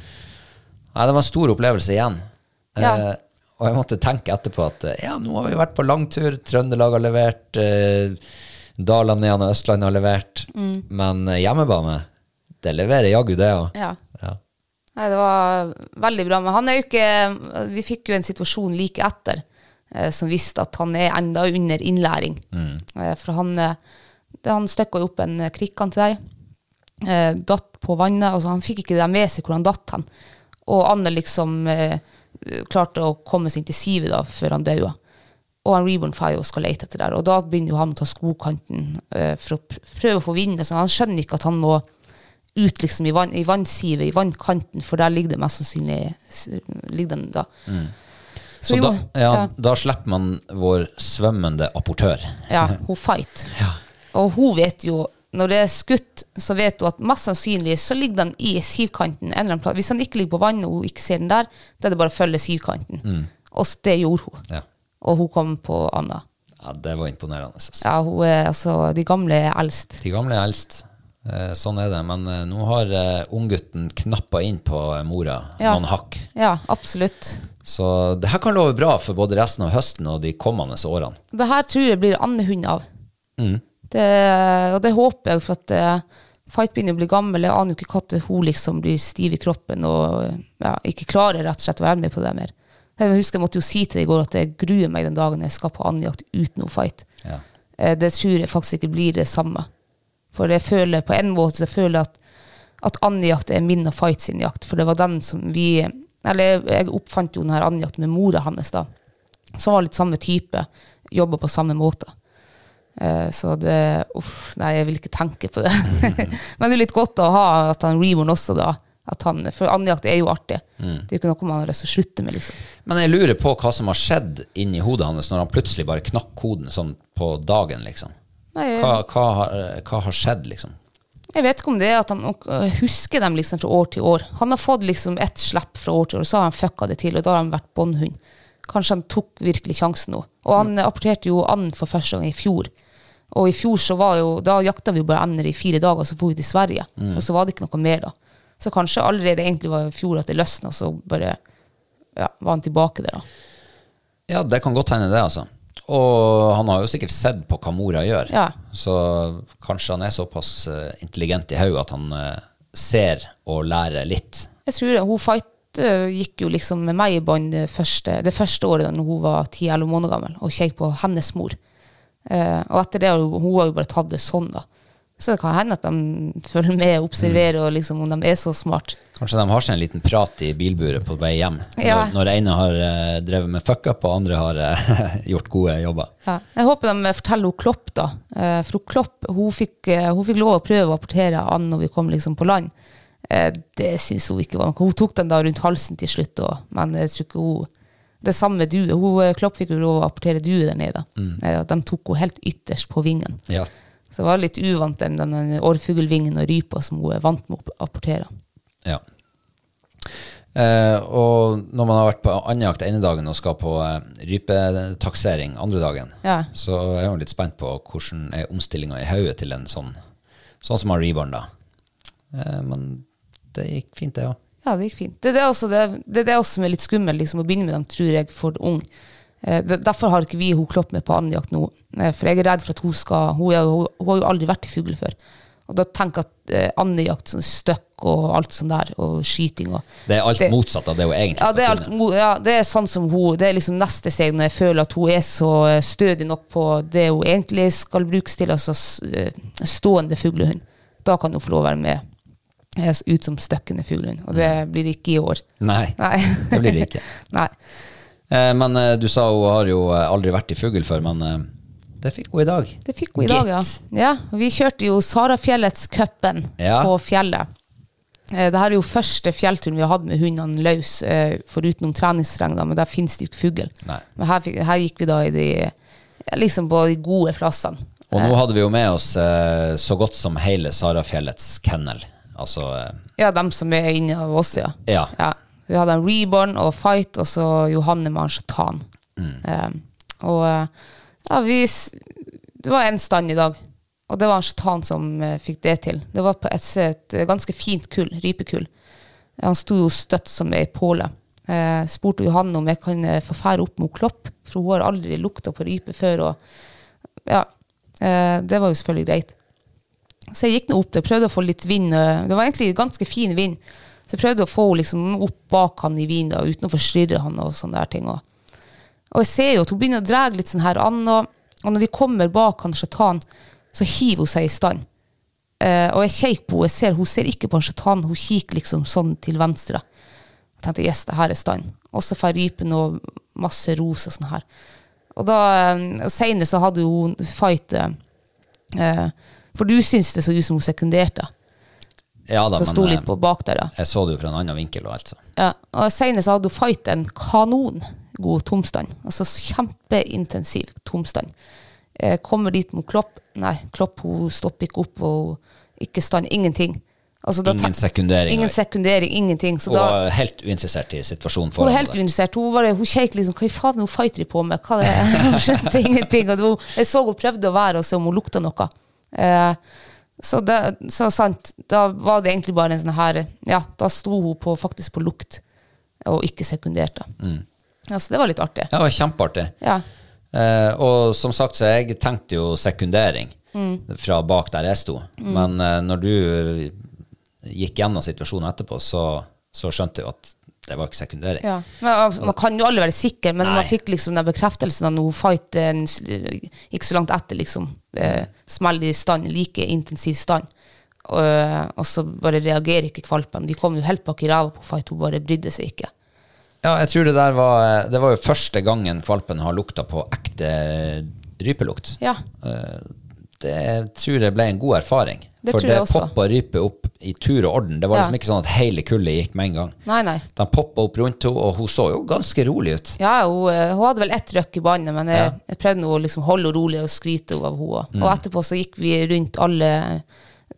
det var en stor opplevelse igjen. Ja. Eh, og jeg måtte tenke etterpå at eh, ja, nå har vi vært på langtur, Trøndelag har levert, eh, Dalane igjen og Østlandet har levert, Mm. men eh, hjemmebane, det leverer jaggu det òg. Ja. Ja. Nei, det var veldig bra. Men han er jo ikke Vi fikk jo en situasjon like etter eh, som viste at han er enda under innlæring. Mm. Eh, for han, eh, det- han støkka jo opp en eh, krikk han til deg. Eh, datt på vannet. Altså, han fikk ikke det med seg hvor han datt hen. Og Anne liksom eh, klarte å komme seg inn til sivet da, før han daua. Og han Reborn Fire skal lete etter der. Og da begynner jo han å ta skogkanten eh, for å pr- prøve å få vind. og sånn. Han skjønner ikke at han må ut liksom i, vann, i vannsivet, i vannkanten, for der ligger det mest sannsynlig s- ligger den da. Mm. Så vi da, må- ja, da slipper man vår svømmende apportør. Ja, hun fight. Og hun vet jo, når det er skutt, så vet hun at mest sannsynlig så ligger den i sivkanten. en eller annen plass. Hvis han ikke ligger på vannet og hun ikke ser den der, da er det bare å følge sivkanten. Og s- det gjorde hun. Ja. Og hun kom på Anna. Ja, det var imponerende. Altså. Ja, hun er, altså, de gamle er eldst. De gamle er eldst. Eh, sånn er det. Men eh, nå har eh, unggutten knappa inn på eh, mora Ja. noen hakk. Ja, absolutt. Så det her kan love bra for både resten av høsten og de kommende årene. Det her tror jeg blir andehund av. Det, og det håper jeg, for at eh, Fight begynner å bli gammel. Jeg aner jo ikke når hun liksom blir stiv i kroppen og ja, ikke klarer rett og slett å være med på det mer. Jeg husker jeg måtte jo si til deg i går at jeg gruer meg den dagen jeg skal på andjakt uten noe fight. Ja. Eh, Det tror jeg faktisk ikke blir det samme. For jeg føler på en måte så føler jeg at, at andjakt er min og Fight sin jakt. For det var den som vi Eller jeg oppfant jo den her andjakten med mora hans, da. Som var litt samme type. Jobba på samme måte. Eh, Så det Uff, nei, jeg vil ikke tenke på det. Men det er litt godt å ha at han Reborn også, da. At han, for andjakt er jo artig. Det er jo ikke noe man har lyst til å slutte med, liksom. Men jeg lurer på hva som har skjedd inni hodet hans når han plutselig bare knakk koden sånn på dagen, liksom. Nei, Hva, hva, har, hva har skjedd, liksom? Jeg vet ikke om det er at han øh, husker dem liksom fra år til år. Han har fått liksom ett slipp fra år til år, så har han fucka det til, og da har han vært båndhund. Kanskje han tok virkelig sjansen nå. Og han eh, apporterte jo and for første gang i fjor. Og i fjor så var jo, da jakta vi jo bare ender i fire dager, og så dro vi til Sverige. Og så var det ikke noe mer da. Så kanskje allerede egentlig var i fjor at det løsna, og så bare ja, var han tilbake der da. Ja, det kan godt hende det, altså. Og han har jo sikkert sett på hva mora gjør, Ja. så kanskje han er såpass eh, intelligent i hodet at han eh, ser og lærer litt. Jeg tror det. Hun fight øh, gikk jo liksom med meg i bånd det første, det første året da hun var 10-11 måneder gammel, og kjekk på hennes mor. Eh, og etter det har hun, hun har jo bare tatt det sånn, da. Så det kan hende at de følger med og observerer, og liksom, om de er så smart. Kanskje de har seg en liten prat i bilburet på vei hjem, Ja. når, når ene har eh, drevet med fuck-up og andre har eh, gjort gode jobber. Ja. Jeg håper de forteller hun Klopp, da. Eh, For hun Klopp hun fikk, eh, hun fikk lov å prøve å apportere an når vi kom liksom på land. Eh, Det syns hun ikke var noe. Hun tok den da rundt halsen til slutt, og, men jeg tror ikke hun Det samme due. Hun, eh, Klopp fikk jo lov å apportere due der nede. Eh, at De tok henne helt ytterst på vingen. Ja. Så det var litt uvant enn den orrfuglvingen og rypa som hun er vant med å apportere. Ja. Eh, og når man har vært på andjakt ene dagen og skal på eh, rypetaksering andre dagen, Ja. så er jeg jo litt spent på hvordan er omstillinga i hodet til en sånn, sånn som har reborn, da. Eh, men det gikk fint, det òg. Ja, det gikk fint. Det er det også, det, det er det også som er litt skummelt, liksom, å begynne med dem, tror jeg, for ung. Eh, de- derfor har ikke vi hun Klopp med på andjakt nå. Eh, for jeg er redd for at hun skal Hun, er, hun, hun har jo aldri vært i fugl før. Og da tenker jeg at eh, andjakt, sånn støkk og alt sånt der, og skyting og Det er alt Det- motsatt av det hun egentlig ja, det er, skal alt, hun- ja, det er sånn som hun Det er liksom neste steg når jeg føler at hun er så eh, stødig nok på det hun egentlig skal brukes til, altså s- eh, stående fuglehund. Da kan hun få lov å være med eh, ut som støkkende fuglehund, og det blir det ikke i år. Nei, Nei. det blir det ikke. Nei. Eh, men eh, du sa hun har jo eh, aldri vært i fugl før, men eh, det fikk hun i dag. Det fikk hun i dag, ja. Gitt. ja. og Vi kjørte jo Sarafjellets-cupen Ja. på fjellet. Eh, Det her er jo første fjellturen vi har hatt med hundene løs, eh, foruten om treningsterreng, da, men der finnes det jo ikke fugl. Nei. Men her, fikk, her gikk vi da i de, ja, liksom på de gode plassene. eh, Og nå hadde vi jo med oss eh, så godt som hele Sarafjellets kennel Altså eh, Ja, dem som er inne av oss, ja. Ja. Vi hadde en Reborn og Fight, og så Johanne Manchettan. Eh, og eh, ja, vi s- Det var en stand i dag, og det var Manchettan som eh, fikk det til. Det var på et, et ganske fint kull, rypekull. Han sto jo støtt som ei påle. Eh, spurte Johanne om jeg kan eh, få fære opp mot Klopp, for hun har aldri lukta på rype før. Og, ja, eh, det var jo selvfølgelig greit. Så jeg gikk nå opp der, prøvde å få litt vind. øh, Det var egentlig ganske fin vind. Så jeg prøvde å få henne liksom opp bak han i vinden da, uten å forstyrre han og sånne der ting. Og, og jeg ser jo at hun begynner å dra litt sånn her an, og, og når vi kommer bak han Shaitan, så hiver hun seg i stand. Eh, og jeg kikker på henne, jeg ser, hun ser ikke på han Shaitan, hun kikker liksom sånn til venstre. Jeg tenkte, yes, det her er stand. Og så får rypen og masse ros og sånn her. Og da, eh, senere så hadde jo hun fight... eh, Eh, for du syns det så ut som hun sekunderte, ja da, som sto men litt på eh, bak der, ja. jeg så det jo fra en annen vinkel og alt, så. ja. Og senere så hadde hun fight en kanongod tomstand. Altså kjempeintensiv tomstand. Eh, kommer dit mot Klopp. Nei, Klopp hun stopper ikke opp, og ikke stand, ingenting. Altså, da Ingen tek- sekundering. Ingen sekundering, ingenting. Så og da, var helt uinteressert i situasjonen hun foran var helt deg. uinteressert. Hun bare, hun kjekk liksom, hva i faen er hun fighter de på med? Hva er det? Hun skjønte ingenting. Og det var- jeg så hun prøvde å være og se om hun lukta noe. Eh, så, det, så sant, da var det egentlig bare en sånn her, ja, da sto hun på, faktisk på lukt, og ikke sekunderte. Ja, så det var litt artig. Ja, det var kjempeartig. Ja, Eh, og som sagt, så jeg tenkte jo sekundering Mm. fra bak der jeg sto. Men eh, når du eh, gikk gjennom situasjonen etterpå, så, så skjønte jeg jo at det var ikke sekundering. ja. Men, ja, man kan jo aldri være sikker, men Nei. man fikk liksom den bekreftelsen at hun fight eh, en s- gikk så langt etter, liksom, eh, smell i stand, like intensiv stand. Og, eh, og så bare reagerer ikke kvalpen. De kom jo helt bak i ræva på fight, hun bare brydde seg ikke. Ja, jeg tror det der var eh, Det var jo første gangen kvalpen har lukta på ekte rypelukt. Eh, Ja, Det tror jeg ble en god erfaring. Det For tror jeg det også. poppa rype opp i tur og orden. Det var Ja. liksom ikke sånn at hele kullet gikk med en gang. nei, nei. De poppa opp rundt henne, og hun så jo ganske rolig ut. Ja, hun, eh, hun hadde vel ett røkk i båndet, men jeg, jeg prøvde nå å liksom holde henne rolig og skryte henne av henne. Og etterpå så gikk vi rundt alle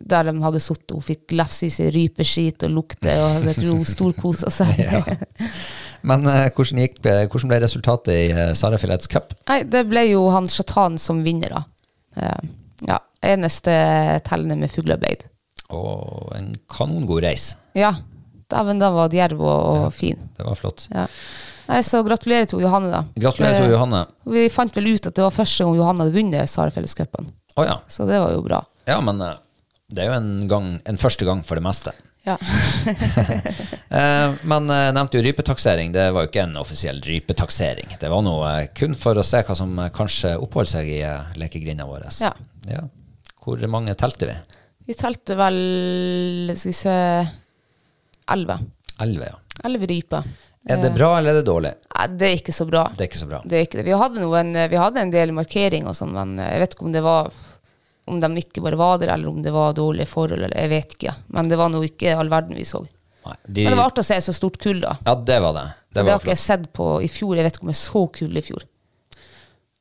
der de hadde sittet. Hun fikk lefse i seg rypeskit og lukte, og altså, jeg tror hun storkosa seg. Men eh, hvordan, gikk, hvordan ble resultatet i eh, Sara Filets Cup? Nei, det ble jo han Shatan som vinner, da. Eh, ja, eneste tellende med fuglearbeid. Og en kanongod reis. Ja, dæven, da var djerv og, og fin. Det var flott. Ja. Nei, så gratulerer til Johanne, da. Gratulerer Eh, til Johanne. Vi fant vel ut at det var første gang Johanne hadde vunnet Sarafellescupen, Å ja. så det var jo bra. Ja, men eh, det er jo en, gang, en første gang for det meste. Ja. Eh, men eh, nevnte jo rypetaksering. Det var jo ikke en offisiell rypetaksering. Det var noe eh, kun for å se hva som eh, kanskje oppholder seg i eh, lekegrinda vår. Ja. Ja. Hvor mange telte vi? Vi telte vel Skal vi se Elleve. Elleve, ja. Elleve ryper. Er Eh. det bra, eller er det dårlig? Nei, det er ikke så bra. Det er ikke så bra. Det er ikke det. Vi hadde, noen, eh, vi hadde en del markering og sånn, men jeg vet ikke om det var om de ikke bare var der, eller om det var dårlige forhold, eller jeg vet ikke. Men det var nå ikke all verden vi så. Nei, de, Men det var artig å se så stort kull, da. ja, det var det. Det, Det det var har ikke jeg flott. sett på i fjor. Jeg vet ikke om jeg så kull i fjor.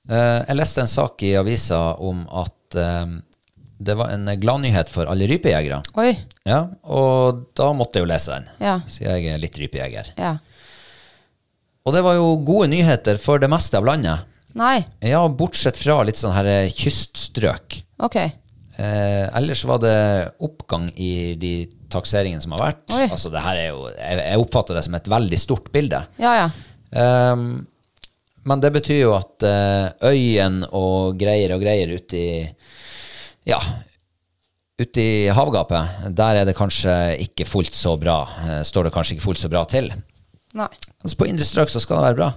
Eh, jeg leste en sak i avisa om at eh, det var en gladnyhet for alle rypejegere. Oi. Ja, og da måtte jeg jo lese den, Ja. siden jeg er litt rypejeger. Ja. Og det var jo gode nyheter for det meste av landet. Nei. Ja, bortsett fra litt sånn her eh, kyststrøk. Ok. Eh, ellers var det oppgang i de takseringene som har vært. Oi. Altså, det her er jo, jeg, jeg oppfatter det som et veldig stort bilde. Ja, ja. Ehm, men det betyr jo at eh, øyen og greier og greier ute i Ja, ute i havgapet, der er det kanskje ikke fullt så bra. eh, står det kanskje ikke fullt så bra til. Nei. Altså på indre strøk så skal det være bra.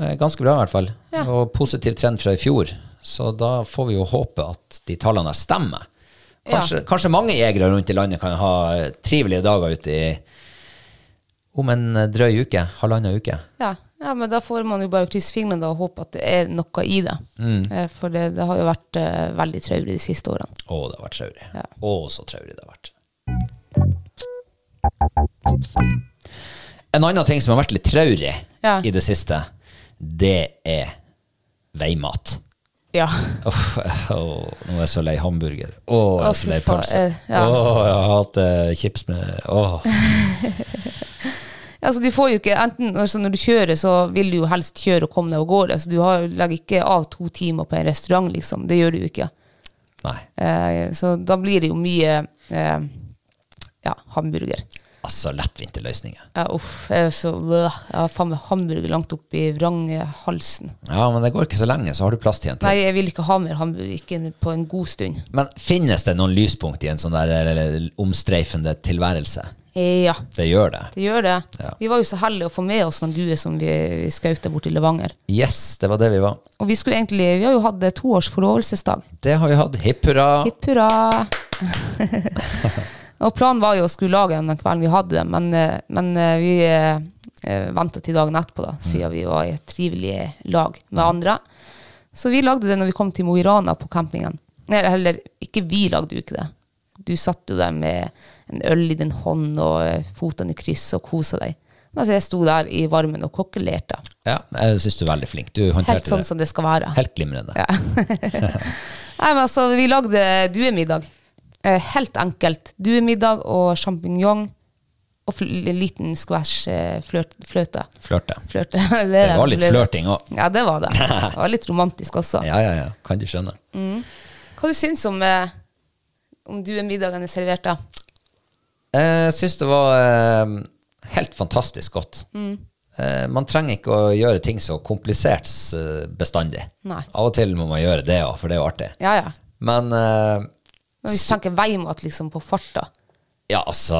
Eh, Ganske bra, i hvert fall. Og positiv trend fra i fjor. Så da får vi jo håpe at de tallene der stemmer. Kanskje, kanskje mange jegere rundt i landet kan ha eh, trivelige dager ute i om en eh, drøy uke, halvannen uke. Ja. ja, men da får man jo bare krysse fingrene da, og håpe at det er noe i det. Mm. Eh, For det, det har jo vært eh, veldig traurig de siste årene. Å, det har vært traurig. Ja. Å, så traurig det har vært. En annen ting som har vært litt traurig Ja. i det siste, det er veimat. Ja. Åh, åh, nå er jeg så lei hamburger. Åh, jeg er Å, så fy lei faen, pølse. eh, ja. Åh, jeg hater chips med Åh. Altså, du får jo ikke, enten altså, Når du kjører, så vil du jo helst kjøre og komme deg av gårde. Så du har, legger ikke av to timer på en restaurant, liksom. Det gjør du jo ikke. Nei. Eh, så da blir det jo mye eh, ja, hamburger. Altså, lettvinte løsninger. Ja, uff, jeg, er så, øh, jeg har faen meg hamburger langt opp i vrangehalsen. Ja, men det går ikke så lenge, så har du plass til en til. Nei, jeg vil ikke ha mer hamburger ikke på en god stund. Men finnes det noen lyspunkt i en sånn der eller, omstreifende tilværelse? Eh, Ja, Det gjør det. det gjør det. Ja. Vi var jo så heldige å få med oss noen duer som vi, vi skauta bort i Levanger. Yes, det var det vi var. Og vi skulle egentlig, vi har jo hatt eh, to års forlovelsesdag. Det har vi hatt. Hipp hurra. Hipp hurra! og planen var jo å skulle lage den den kvelden vi hadde den, men, eh, men eh, vi venta til dagen etterpå, da, siden Mm. vi var i et trivelig lag med andre. Så vi lagde det når vi kom til Mo i Rana på campingen. Nei, heller, ikke vi lagde jo ikke det. Du satt jo der med en øl i din hånd og eh, fotene i kryss og kosa deg. Mens jeg sto der i varmen og kokkelerte. Ja, jeg syns du er veldig flink. Du Helt håndterte sånn det. som det skal være. Helt glimrende. Nei, men altså, vi lagde duemiddag. Eh, helt enkelt. Duemiddag og sjampinjong. Og fl liten skvæsj eh, flørt, fløte. Flørte. Flørte. Det, Det var litt flørting òg. Ja, det var det. Det var litt romantisk også. Ja, ja, ja. Kan du skjønne. Hva du syns om, eh, om duemiddagen er servert, da? Jeg syns det var eh, helt fantastisk godt. Eh, man trenger ikke å gjøre ting så komplisert eh, bestandig. Nei. Av og til må man gjøre det òg, for det er jo artig. Ja, ja. Men eh, Men hvis du tenker veimat liksom på farta ja, altså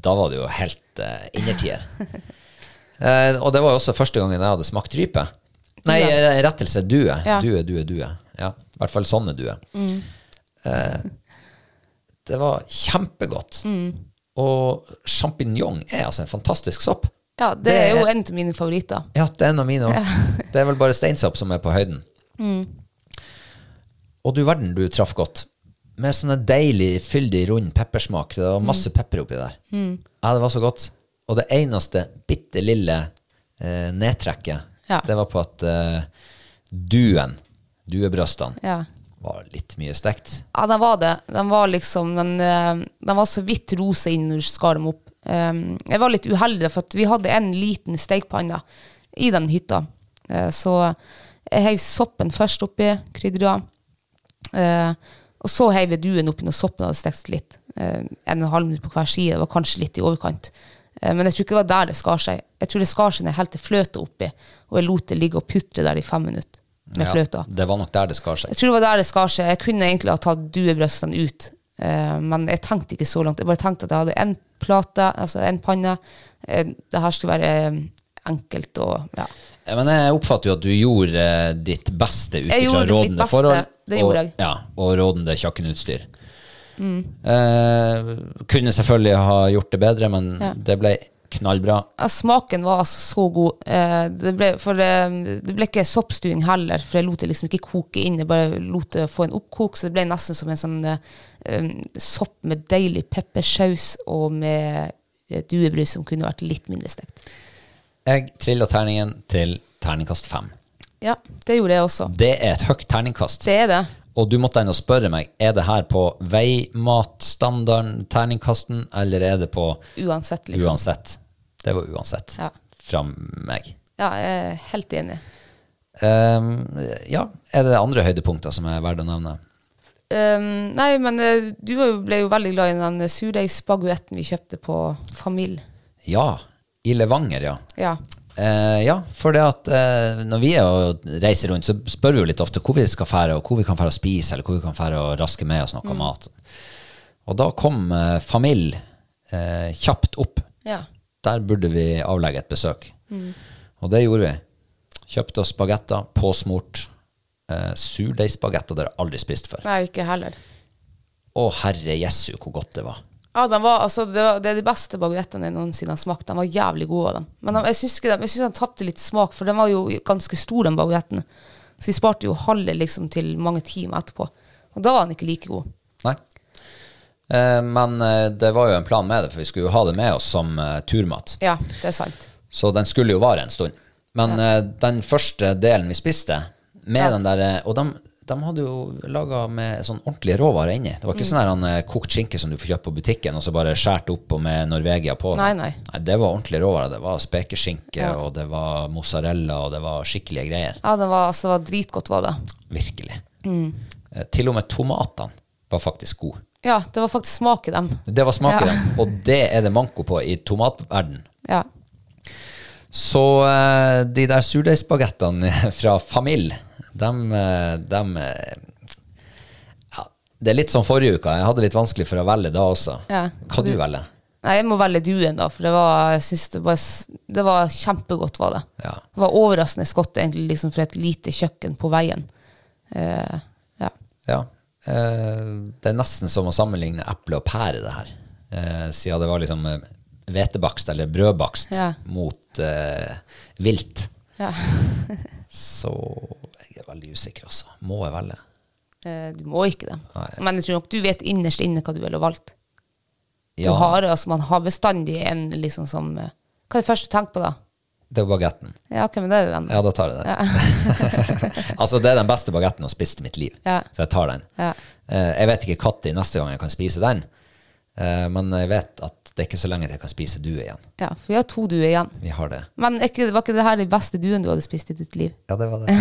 Da var det jo helt eh, innertier. eh, og det var jo også første gangen jeg hadde smakt rype. Nei, eh, rettelse. Due. Ja. Due, due, due. Ja, I hvert fall sånne duer. Eh, det var kjempegodt. Og sjampinjong er altså en fantastisk sopp. Ja, det, er jo en av mine favoritter. Ja, det er en av mine òg. Det er vel bare steinsopp som er på høyden. Mm. Og du verden, du traff godt. Med sånn en deilig, fyldig, rund peppersmak. Det var Mm. masse pepper oppi der. Ja, det var så godt. Og det eneste bitte lille eh, nedtrekket, Ja. det var på at eh, duen, duebrøstene, Ja. var litt mye stekt. Ja, den var det. Den var liksom Den, eh, den var så vidt rosa inn når du skar dem opp. Eh, jeg var litt uheldig, for at vi hadde en liten stekepanne i den hytta. Eh, så jeg heiv soppen først oppi krydderet. Eh, og så heiv jeg duen oppi når soppen hadde stekt litt. Eh, en og en halv minutt på hver side. Det var kanskje litt i overkant. Eh, men jeg tror ikke det var der det skar seg. Jeg tror det skar seg når jeg helte fløte oppi, og jeg lot det ligge og putre der i fem minutter med Ja, fløta. Det var nok der det skar seg. Jeg tror det var der det skar seg. Jeg kunne egentlig ha tatt duebrøstene ut, eh, men jeg tenkte ikke så langt. Jeg bare tenkte at jeg hadde én plate, altså én panne. Eh, det her skulle være eh, enkelt og ja. Ja, Men jeg oppfatter jo at du gjorde eh, ditt beste ut ifra gjorde mitt rådende beste, forhold det gjorde og, jeg. Mm. Ja, og rådende kjøkkenutstyr. Eh, kunne selvfølgelig ha gjort det bedre, men det ble knallbra. Ja, Smaken var altså så god. Eh, det, ble, for, eh, det ble ikke soppstuing heller, for jeg lot det liksom ikke koke inn. Jeg bare lot det få en oppkok, så det ble nesten som en sånn eh, em, sopp med deilig peppersaus og med eh, duebrus som kunne vært litt mindre stekt. Jeg trilla terningen til terningkast fem. Ja, det gjorde jeg også. Det er et høyt terningkast. Det er det. Og du måtte ennå spørre meg er det her på veimatstandarden, terningkasten, eller er det på Uansett, liksom. uansett? Det var uansett Ja. fra meg. Ja, jeg er helt enig. Eh, ja, er det andre høydepunkter som er verdt å nevne? Ehm, nei, men eh, du var jo- ble jo veldig glad i den eh, surdeigsbaguetten vi kjøpte på Familie. Ja, i Levanger, ja. Ja. Eh, ja, for det at eh, når vi er og reiser rundt, så spør vi jo litt ofte hvor vi skal fære, og hvor vi kan fære og spise, eller hvor vi kan fære og raske med oss noe mat. Og da kom eh, familie eh, kjapt opp. ja. Der burde vi avlegge et besøk. Og det gjorde vi. Kjøpte oss bagetter, påsmurt. Eh, Surdeigsbagetter dere aldri spist før. Nei, ikke heller. Å, herre jesu, hvor godt det var. Ja, den var, altså, det, var, det er de beste baguettene jeg noensinne har smakt. Den var jævlig god av dem. Men den- jeg syns ikke den- jeg syns den tapte litt smak, for den var jo ganske stor, den baguetten. Så vi sparte jo halve liksom, til mange timer etterpå. Og da var den ikke like god. Nei. Eh, Men eh, det var jo en plan med det, for vi skulle jo ha det med oss som eh, turmat. Ja, det er sant. Så den skulle jo vare en stund. Men eh, den første delen vi spiste, med den der eh, Og de, de hadde jo laga med sånn ordentlige råvarer inni. Det var ikke sånn her han, eh, kokt skinke som du får kjøpt på butikken, og så bare skåret opp og med Norvegia på. Nei, sånn. nei. Det var ordentlige råvarer. Det var spekeskinke, og det var mozzarella, og det var skikkelige greier. Ja, det var, altså, det var dritgodt, var det. Virkelig. Eh, Til og med tomatene var faktisk gode. Ja, det var faktisk smak i dem. Det var smaken, Ja. dem, og det er det manko på i tomatverden. Ja. Så eh, de der surdeigsbagettene fra Famil, dem, eh, dem eh, ja, Det er litt som forrige uka. Jeg hadde litt vanskelig for å velge da også. Ja. Hva du velger? Nei, jeg må velge duen, da, for det var, jeg synes det var, s- det var kjempegodt. var Det Ja. Det var overraskende godt egentlig, liksom, for et lite kjøkken på veien. Eh, ja. Ja. Eh, det er nesten som å sammenligne eple og pære, det her. Eh, siden det var liksom eh, hvetebakst eller brødbakst Ja. mot eh, vilt. Ja. Så jeg er veldig usikker, altså. Må jeg velge? Eh, du må ikke det. Nei. Men jeg tror nok du vet innerst inne hva du ville valgt. Du har, altså, man har bestandig en liksom som eh, Hva er det første du tenker på, da? Det er bagetten. Ja, ok, men det er den. Ja, da tar jeg den. altså, det er den beste bagetten jeg har spist i mitt liv, Ja. så jeg tar den. Ja. Eh, jeg vet ikke når neste gang jeg kan spise den, eh, men jeg vet at det er ikke så lenge til jeg kan spise due igjen. Ja, for vi har to duer igjen. Vi har det. Men er ikke, var ikke det her den beste duen du hadde spist i ditt liv? Ja, det var det.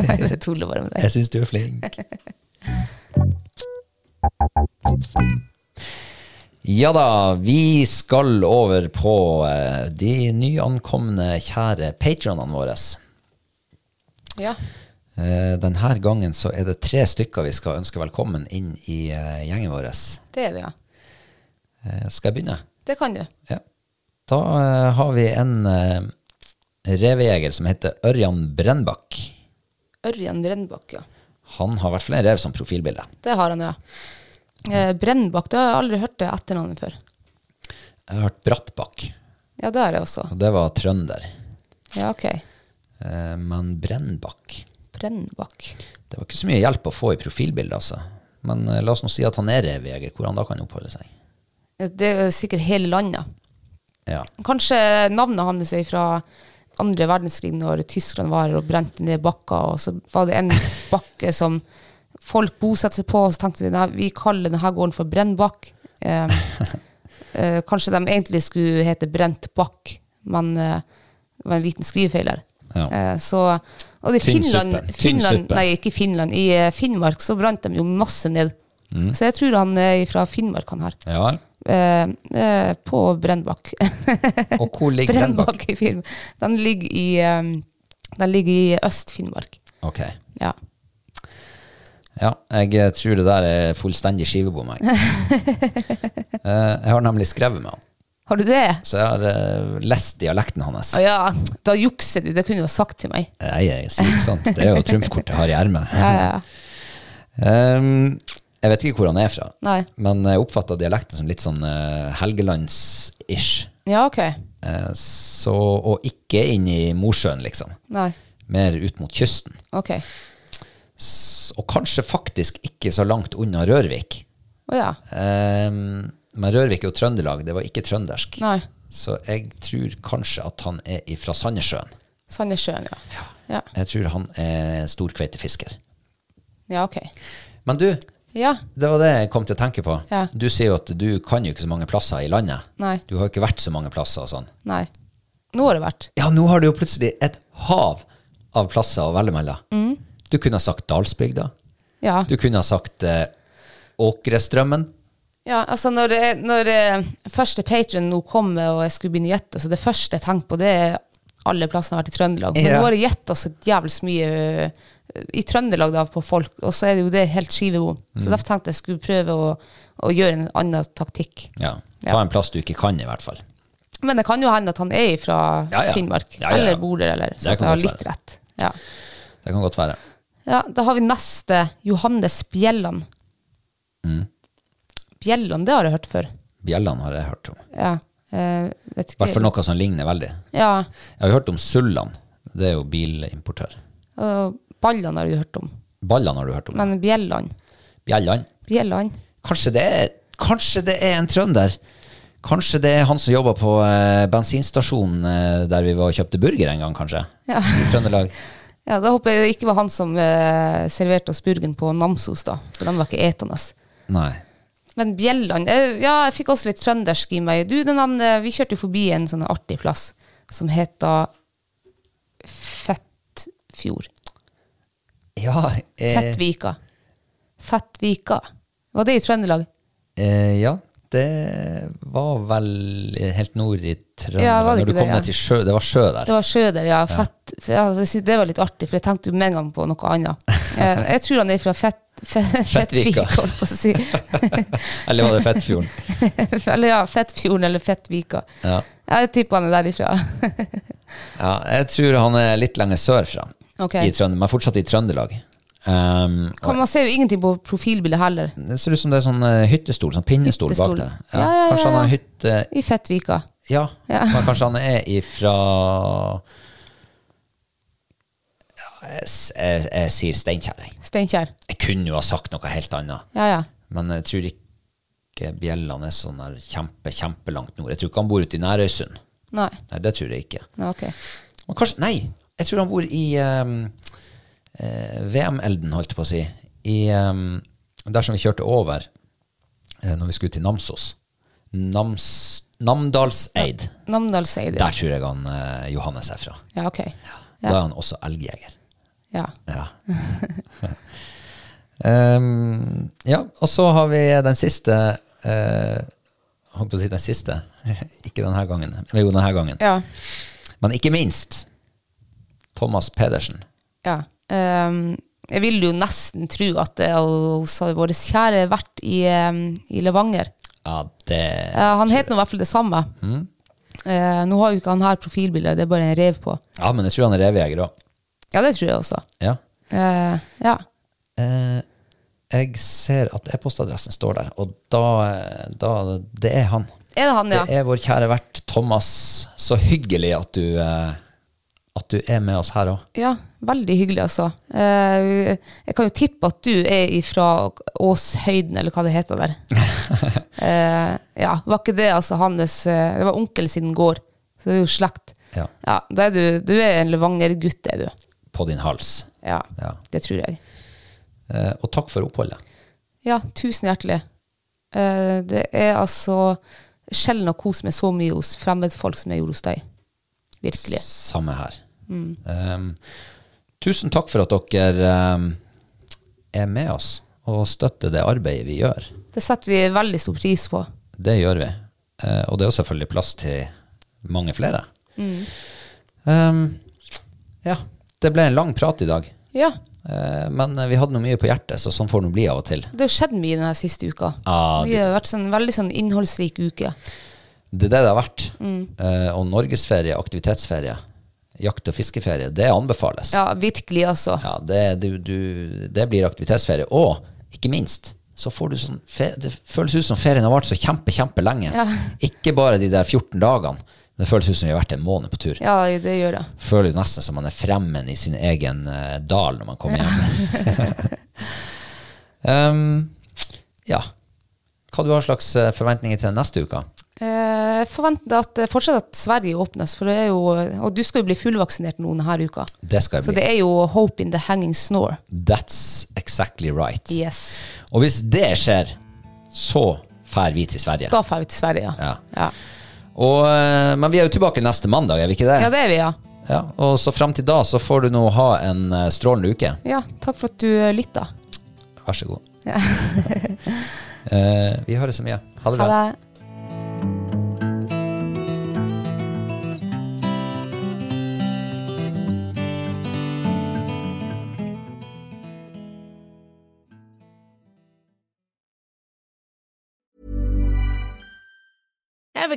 Nei, jeg tuller bare med deg. Jeg syns du er flink. Ja da, vi skal over på eh, de nyankomne kjære patronene våre. Ja. Eh, Denne gangen så er det tre stykker vi skal ønske velkommen inn i eh, gjengen vår. Det er det, ja. Eh, Skal jeg begynne? Det kan du. Ja. Da eh, har vi en eh, revejeger som heter Ørjan Brennbakk. Ørjan Brennbakk, ja. Han har i hvert fall en rev som profilbilde. Det har han, ja. Eh, Brennbakk, det har jeg aldri hørt det etternavnet før. Jeg har hørt Brattbakk, Ja, det har jeg også. og det var trønder. Ja, ok. Eh, Men Brennbakk Brennbakk. Det var ikke så mye hjelp å få i profilbildet, altså. Men eh, la oss nå si at han er revejeger, hvor han da kan oppholde seg. Ja, Eh, Det er jo sikkert hele landet. Ja. Kanskje navnet hans er fra andre verdenskrig, når Tyskland var her og brente ned bakker, og så var det en bakke som folk bosatte seg på, og så tenkte vi nei, vi kaller denne gården for Brennbakk. Eh, eh, kanskje de egentlig skulle hete Brent Bakk, men eh, det var en liten skrivefeil her. Ja. Eh, så, og det er Tynn Finland, suppe. Tynn Finland suppe. Nei, ikke Finland. I eh, Finnmark så brant de jo masse ned. Mm. Så jeg tror han er fra Finnmark, han her. ja vel. Eh, eh, på Brennbakk. Og hvor ligger Brennbakk? Brennbakk i Finnmark. Den ligger i, eh, den ligger i Øst-Finnmark. Ok. Ja. Ja, jeg eh, tror det der er fullstendig skivebom, jeg. Eh, Jeg har nemlig skrevet med han, Har du det? så jeg har eh, lest dialekten hans. Å ja, da jukser du. Det kunne du ha sagt til meg. Nei, jeg sier ikke sant. Det er jo trumfkortet jeg har i ermet. Ja, ja, ja. Ehm, jeg vet ikke hvor han er fra, Nei. men jeg oppfatta dialekten som litt sånn eh, Helgelands-ish. ja, ok. Eh, så, og ikke inn i Mosjøen, liksom. Nei. Mer ut mot kysten. Ok. S og kanskje faktisk ikke så langt unna Rørvik. Å ja. Ehm, men Rørvik er jo Trøndelag, det var ikke trøndersk. Nei. Så jeg tror kanskje at han er fra Sandnessjøen. Sandnessjøen, ja. ja. Jeg tror han er storkveitefisker. Ja, ok. Men du, Ja. det var det jeg kom til å tenke på. Ja. Du sier jo at du kan jo ikke så mange plasser i landet. Nei. Du har jo ikke vært så mange plasser og sånn. Nei. Nå har det vært. Ja, nå har du jo plutselig et hav av plasser å velge mellom. Mm. Du kunne ha sagt Dalsbygda. Ja. Du kunne ha sagt eh, Åkrestrømmen. Ja, altså når, eh, når eh, første patron nå kommer og jeg skulle begynne å gjette, så det første jeg tenker på, det er alle plassene jeg har vært i Trøndelag. Men Ja. nå har jeg gjetta så jævlig mye eh, i Trøndelag da, på folk, og så er det jo det helt skivebom. Mm. Så derfor tenkte jeg skulle prøve å, å gjøre en annen taktikk. Ja. Ta Ja. en plass du ikke kan, i hvert fall. Men det kan jo hende at han er fra Ja, ja. Finnmark, Ja, ja, ja. eller bor der, eller, så Det at kan jeg har godt litt være. rett. Ja. Det kan godt være. ja, da har vi neste, Johannes Bjelland. Mm. Bjelland, det har jeg hørt før. Bjelland har jeg hørt om. Ja, eh, vet I hvert ikke. fall noe som ligner veldig. Ja, Jeg har jo hørt om Sulland. Det er jo bilimportør. Og Ballene har du hørt om, Balland har du hørt om. men Bjelland Bjelland. Bjelland? Kanskje det, er, kanskje det er en trønder? Kanskje det er han som jobba på eh, bensinstasjonen eh, der vi var og kjøpte burger en gang, kanskje? Ja. I Trøndelag. Ja, Da håper jeg det ikke var han som eh, serverte oss burgeren på Namsos, da. For den var ikke etende. Nei. Men Bjelland eh, Ja, jeg fikk også litt trøndersk i meg. Du, den, han, eh, Vi kjørte jo forbi en sånn artig plass som heter Fettfjord. Ja, eh, Fettvika. Fettvika. Var det i Trøndelag? eh, ja, det var vel helt nord i Trøndelag. Ja, var det Når du ikke det, kom ja. ned til sjø, det var sjø der. Det var sjø der, ja. Fett, for ja det sy- det var litt artig, for jeg tenkte jo med en gang på noe annet. Eh, Jeg tror han er fra fett, fett, Fettvika. Fettvika, holdt på å si. Eller var det Fettfjorden? Eller ja, Fettfjorden eller Fettvika. Ja. Jeg tipper han er derifra. ja, jeg tror han er litt lenger sørfra. Ok. I Trøndelag, men fortsatt i Trøndelag. Um, Kan man ser jo ingenting på profilbildet heller. og det ser ut som det er sånn eh, hyttestol, sånn pinnestol Hyttestol. bak der. Ja, ja, ja, Kanskje han ja. har hytte I Fettvika. Ja, Ja. men kanskje han er ifra Ja, jeg, s- jeg, jeg sier Steinkjer. jeg. Steinkjer. Jeg kunne jo ha sagt noe helt annet, Ja, ja. men jeg tror ikke Bjelland er sånn der kjempe, kjempelangt nord. Jeg tror ikke han bor ute i Nærøysund. Nei. Nei, det tror jeg ikke. Nei, ok. Men kanskje, nei, jeg tror han bor i ehm, eh, VM-elden, holdt jeg på å si. I, ehm, der som vi kjørte over eh, når vi skulle til Namsos. Nams, Namdalseid. Namdalseid. Der tror jeg han eh, Johannes er fra. Ja, ok. Da er han også elgjeger. Ja. Ja. Ehm, ja, og så har vi den siste eh, Holdt på å si den siste. ikke denne gangen. men Jo, denne gangen. Ja. Men ikke minst Thomas Pedersen. ja. Ehm, jeg ville jo nesten tro at det er hos vår kjære vert i, ehm, i Levanger. Ja, det Ja, Eh, han het nå i hvert fall det samme. Eh, nå har jo ikke han her profilbildet, det er bare en rev på. Ja, men jeg tror han er revejeger òg. Ja, det tror jeg også. Ja. Eh, ja. Eh, jeg ser at e-postadressen står der, og da, da Det er han. Er det han, ja? Det er vår kjære vert Thomas. Så hyggelig at du, eh, at du er med oss her òg. Ja, veldig hyggelig, altså. Eh, jeg kan jo tippe at du er ifra Åshøyden, eller hva det heter der. Eh, ja, var ikke det altså hans eh, Det var onkel sin gård, så det er jo slekt. Ja. Ja, da er du, du er en Levanger-gutt, er du. På din hals. Ja, Ja. det tror jeg. Eh, og takk for oppholdet. Ja, tusen hjertelig. Eh, det er altså sjelden å kose meg så mye hos fremmedfolk som jeg gjorde hos deg. Virkelig. Samme her. Mm. Um, tusen takk for at dere um, er med oss og støtter det arbeidet vi gjør. Det setter vi veldig stor pris på. Det gjør vi. Eh, og det er jo selvfølgelig plass til mange flere. Um, ja, det ble en lang prat i dag. Ja, Eh, men vi hadde noe mye på hjertet, så sånn får det nå bli av og til. det har skjedd mye denne siste uka. Ja, Vi har vært sånn veldig sånn innholdsrik uke. Det er det det har vært. Eh, og norgesferie, aktivitetsferie, jakt- og fiskeferie, det anbefales. Ja, virkelig, altså. Ja, det, du, du, det blir aktivitetsferie. Og ikke minst, så får du sånn fe, Det føles ut som ferien har vart så kjempe, kjempelenge. Ikke bare de der 14 dagene. Det føles ut som vi har vært en måned på tur. Ja, det gjør det. Føler jo nesten som man er fremmed i sin egen eh, dal når man kommer hjem. um, ja. Hva du har slags eh, forventninger til neste uke? Eh, Jeg forventer at, eh, fortsatt at Sverige åpnes, for det er jo, og du skal jo bli fullvaksinert nå denne uka. Det skal Så jeg bli. det er jo hope in the hanging snore. That's exactly right. Yes. Og hvis det skjer, så drar vi til Sverige. Da drar vi til Sverige, ja. Ja. ja. Og, eh, men vi er jo tilbake neste mandag, er vi ikke det? Ja, det er vi, ja. Ja, og så fram til da så får du nå ha en eh, strålende uke. Ja, takk for at du eh, lytta. Vær så god. Ja. Eh, vi høres så mye. Ha det bra. Ha det. Ever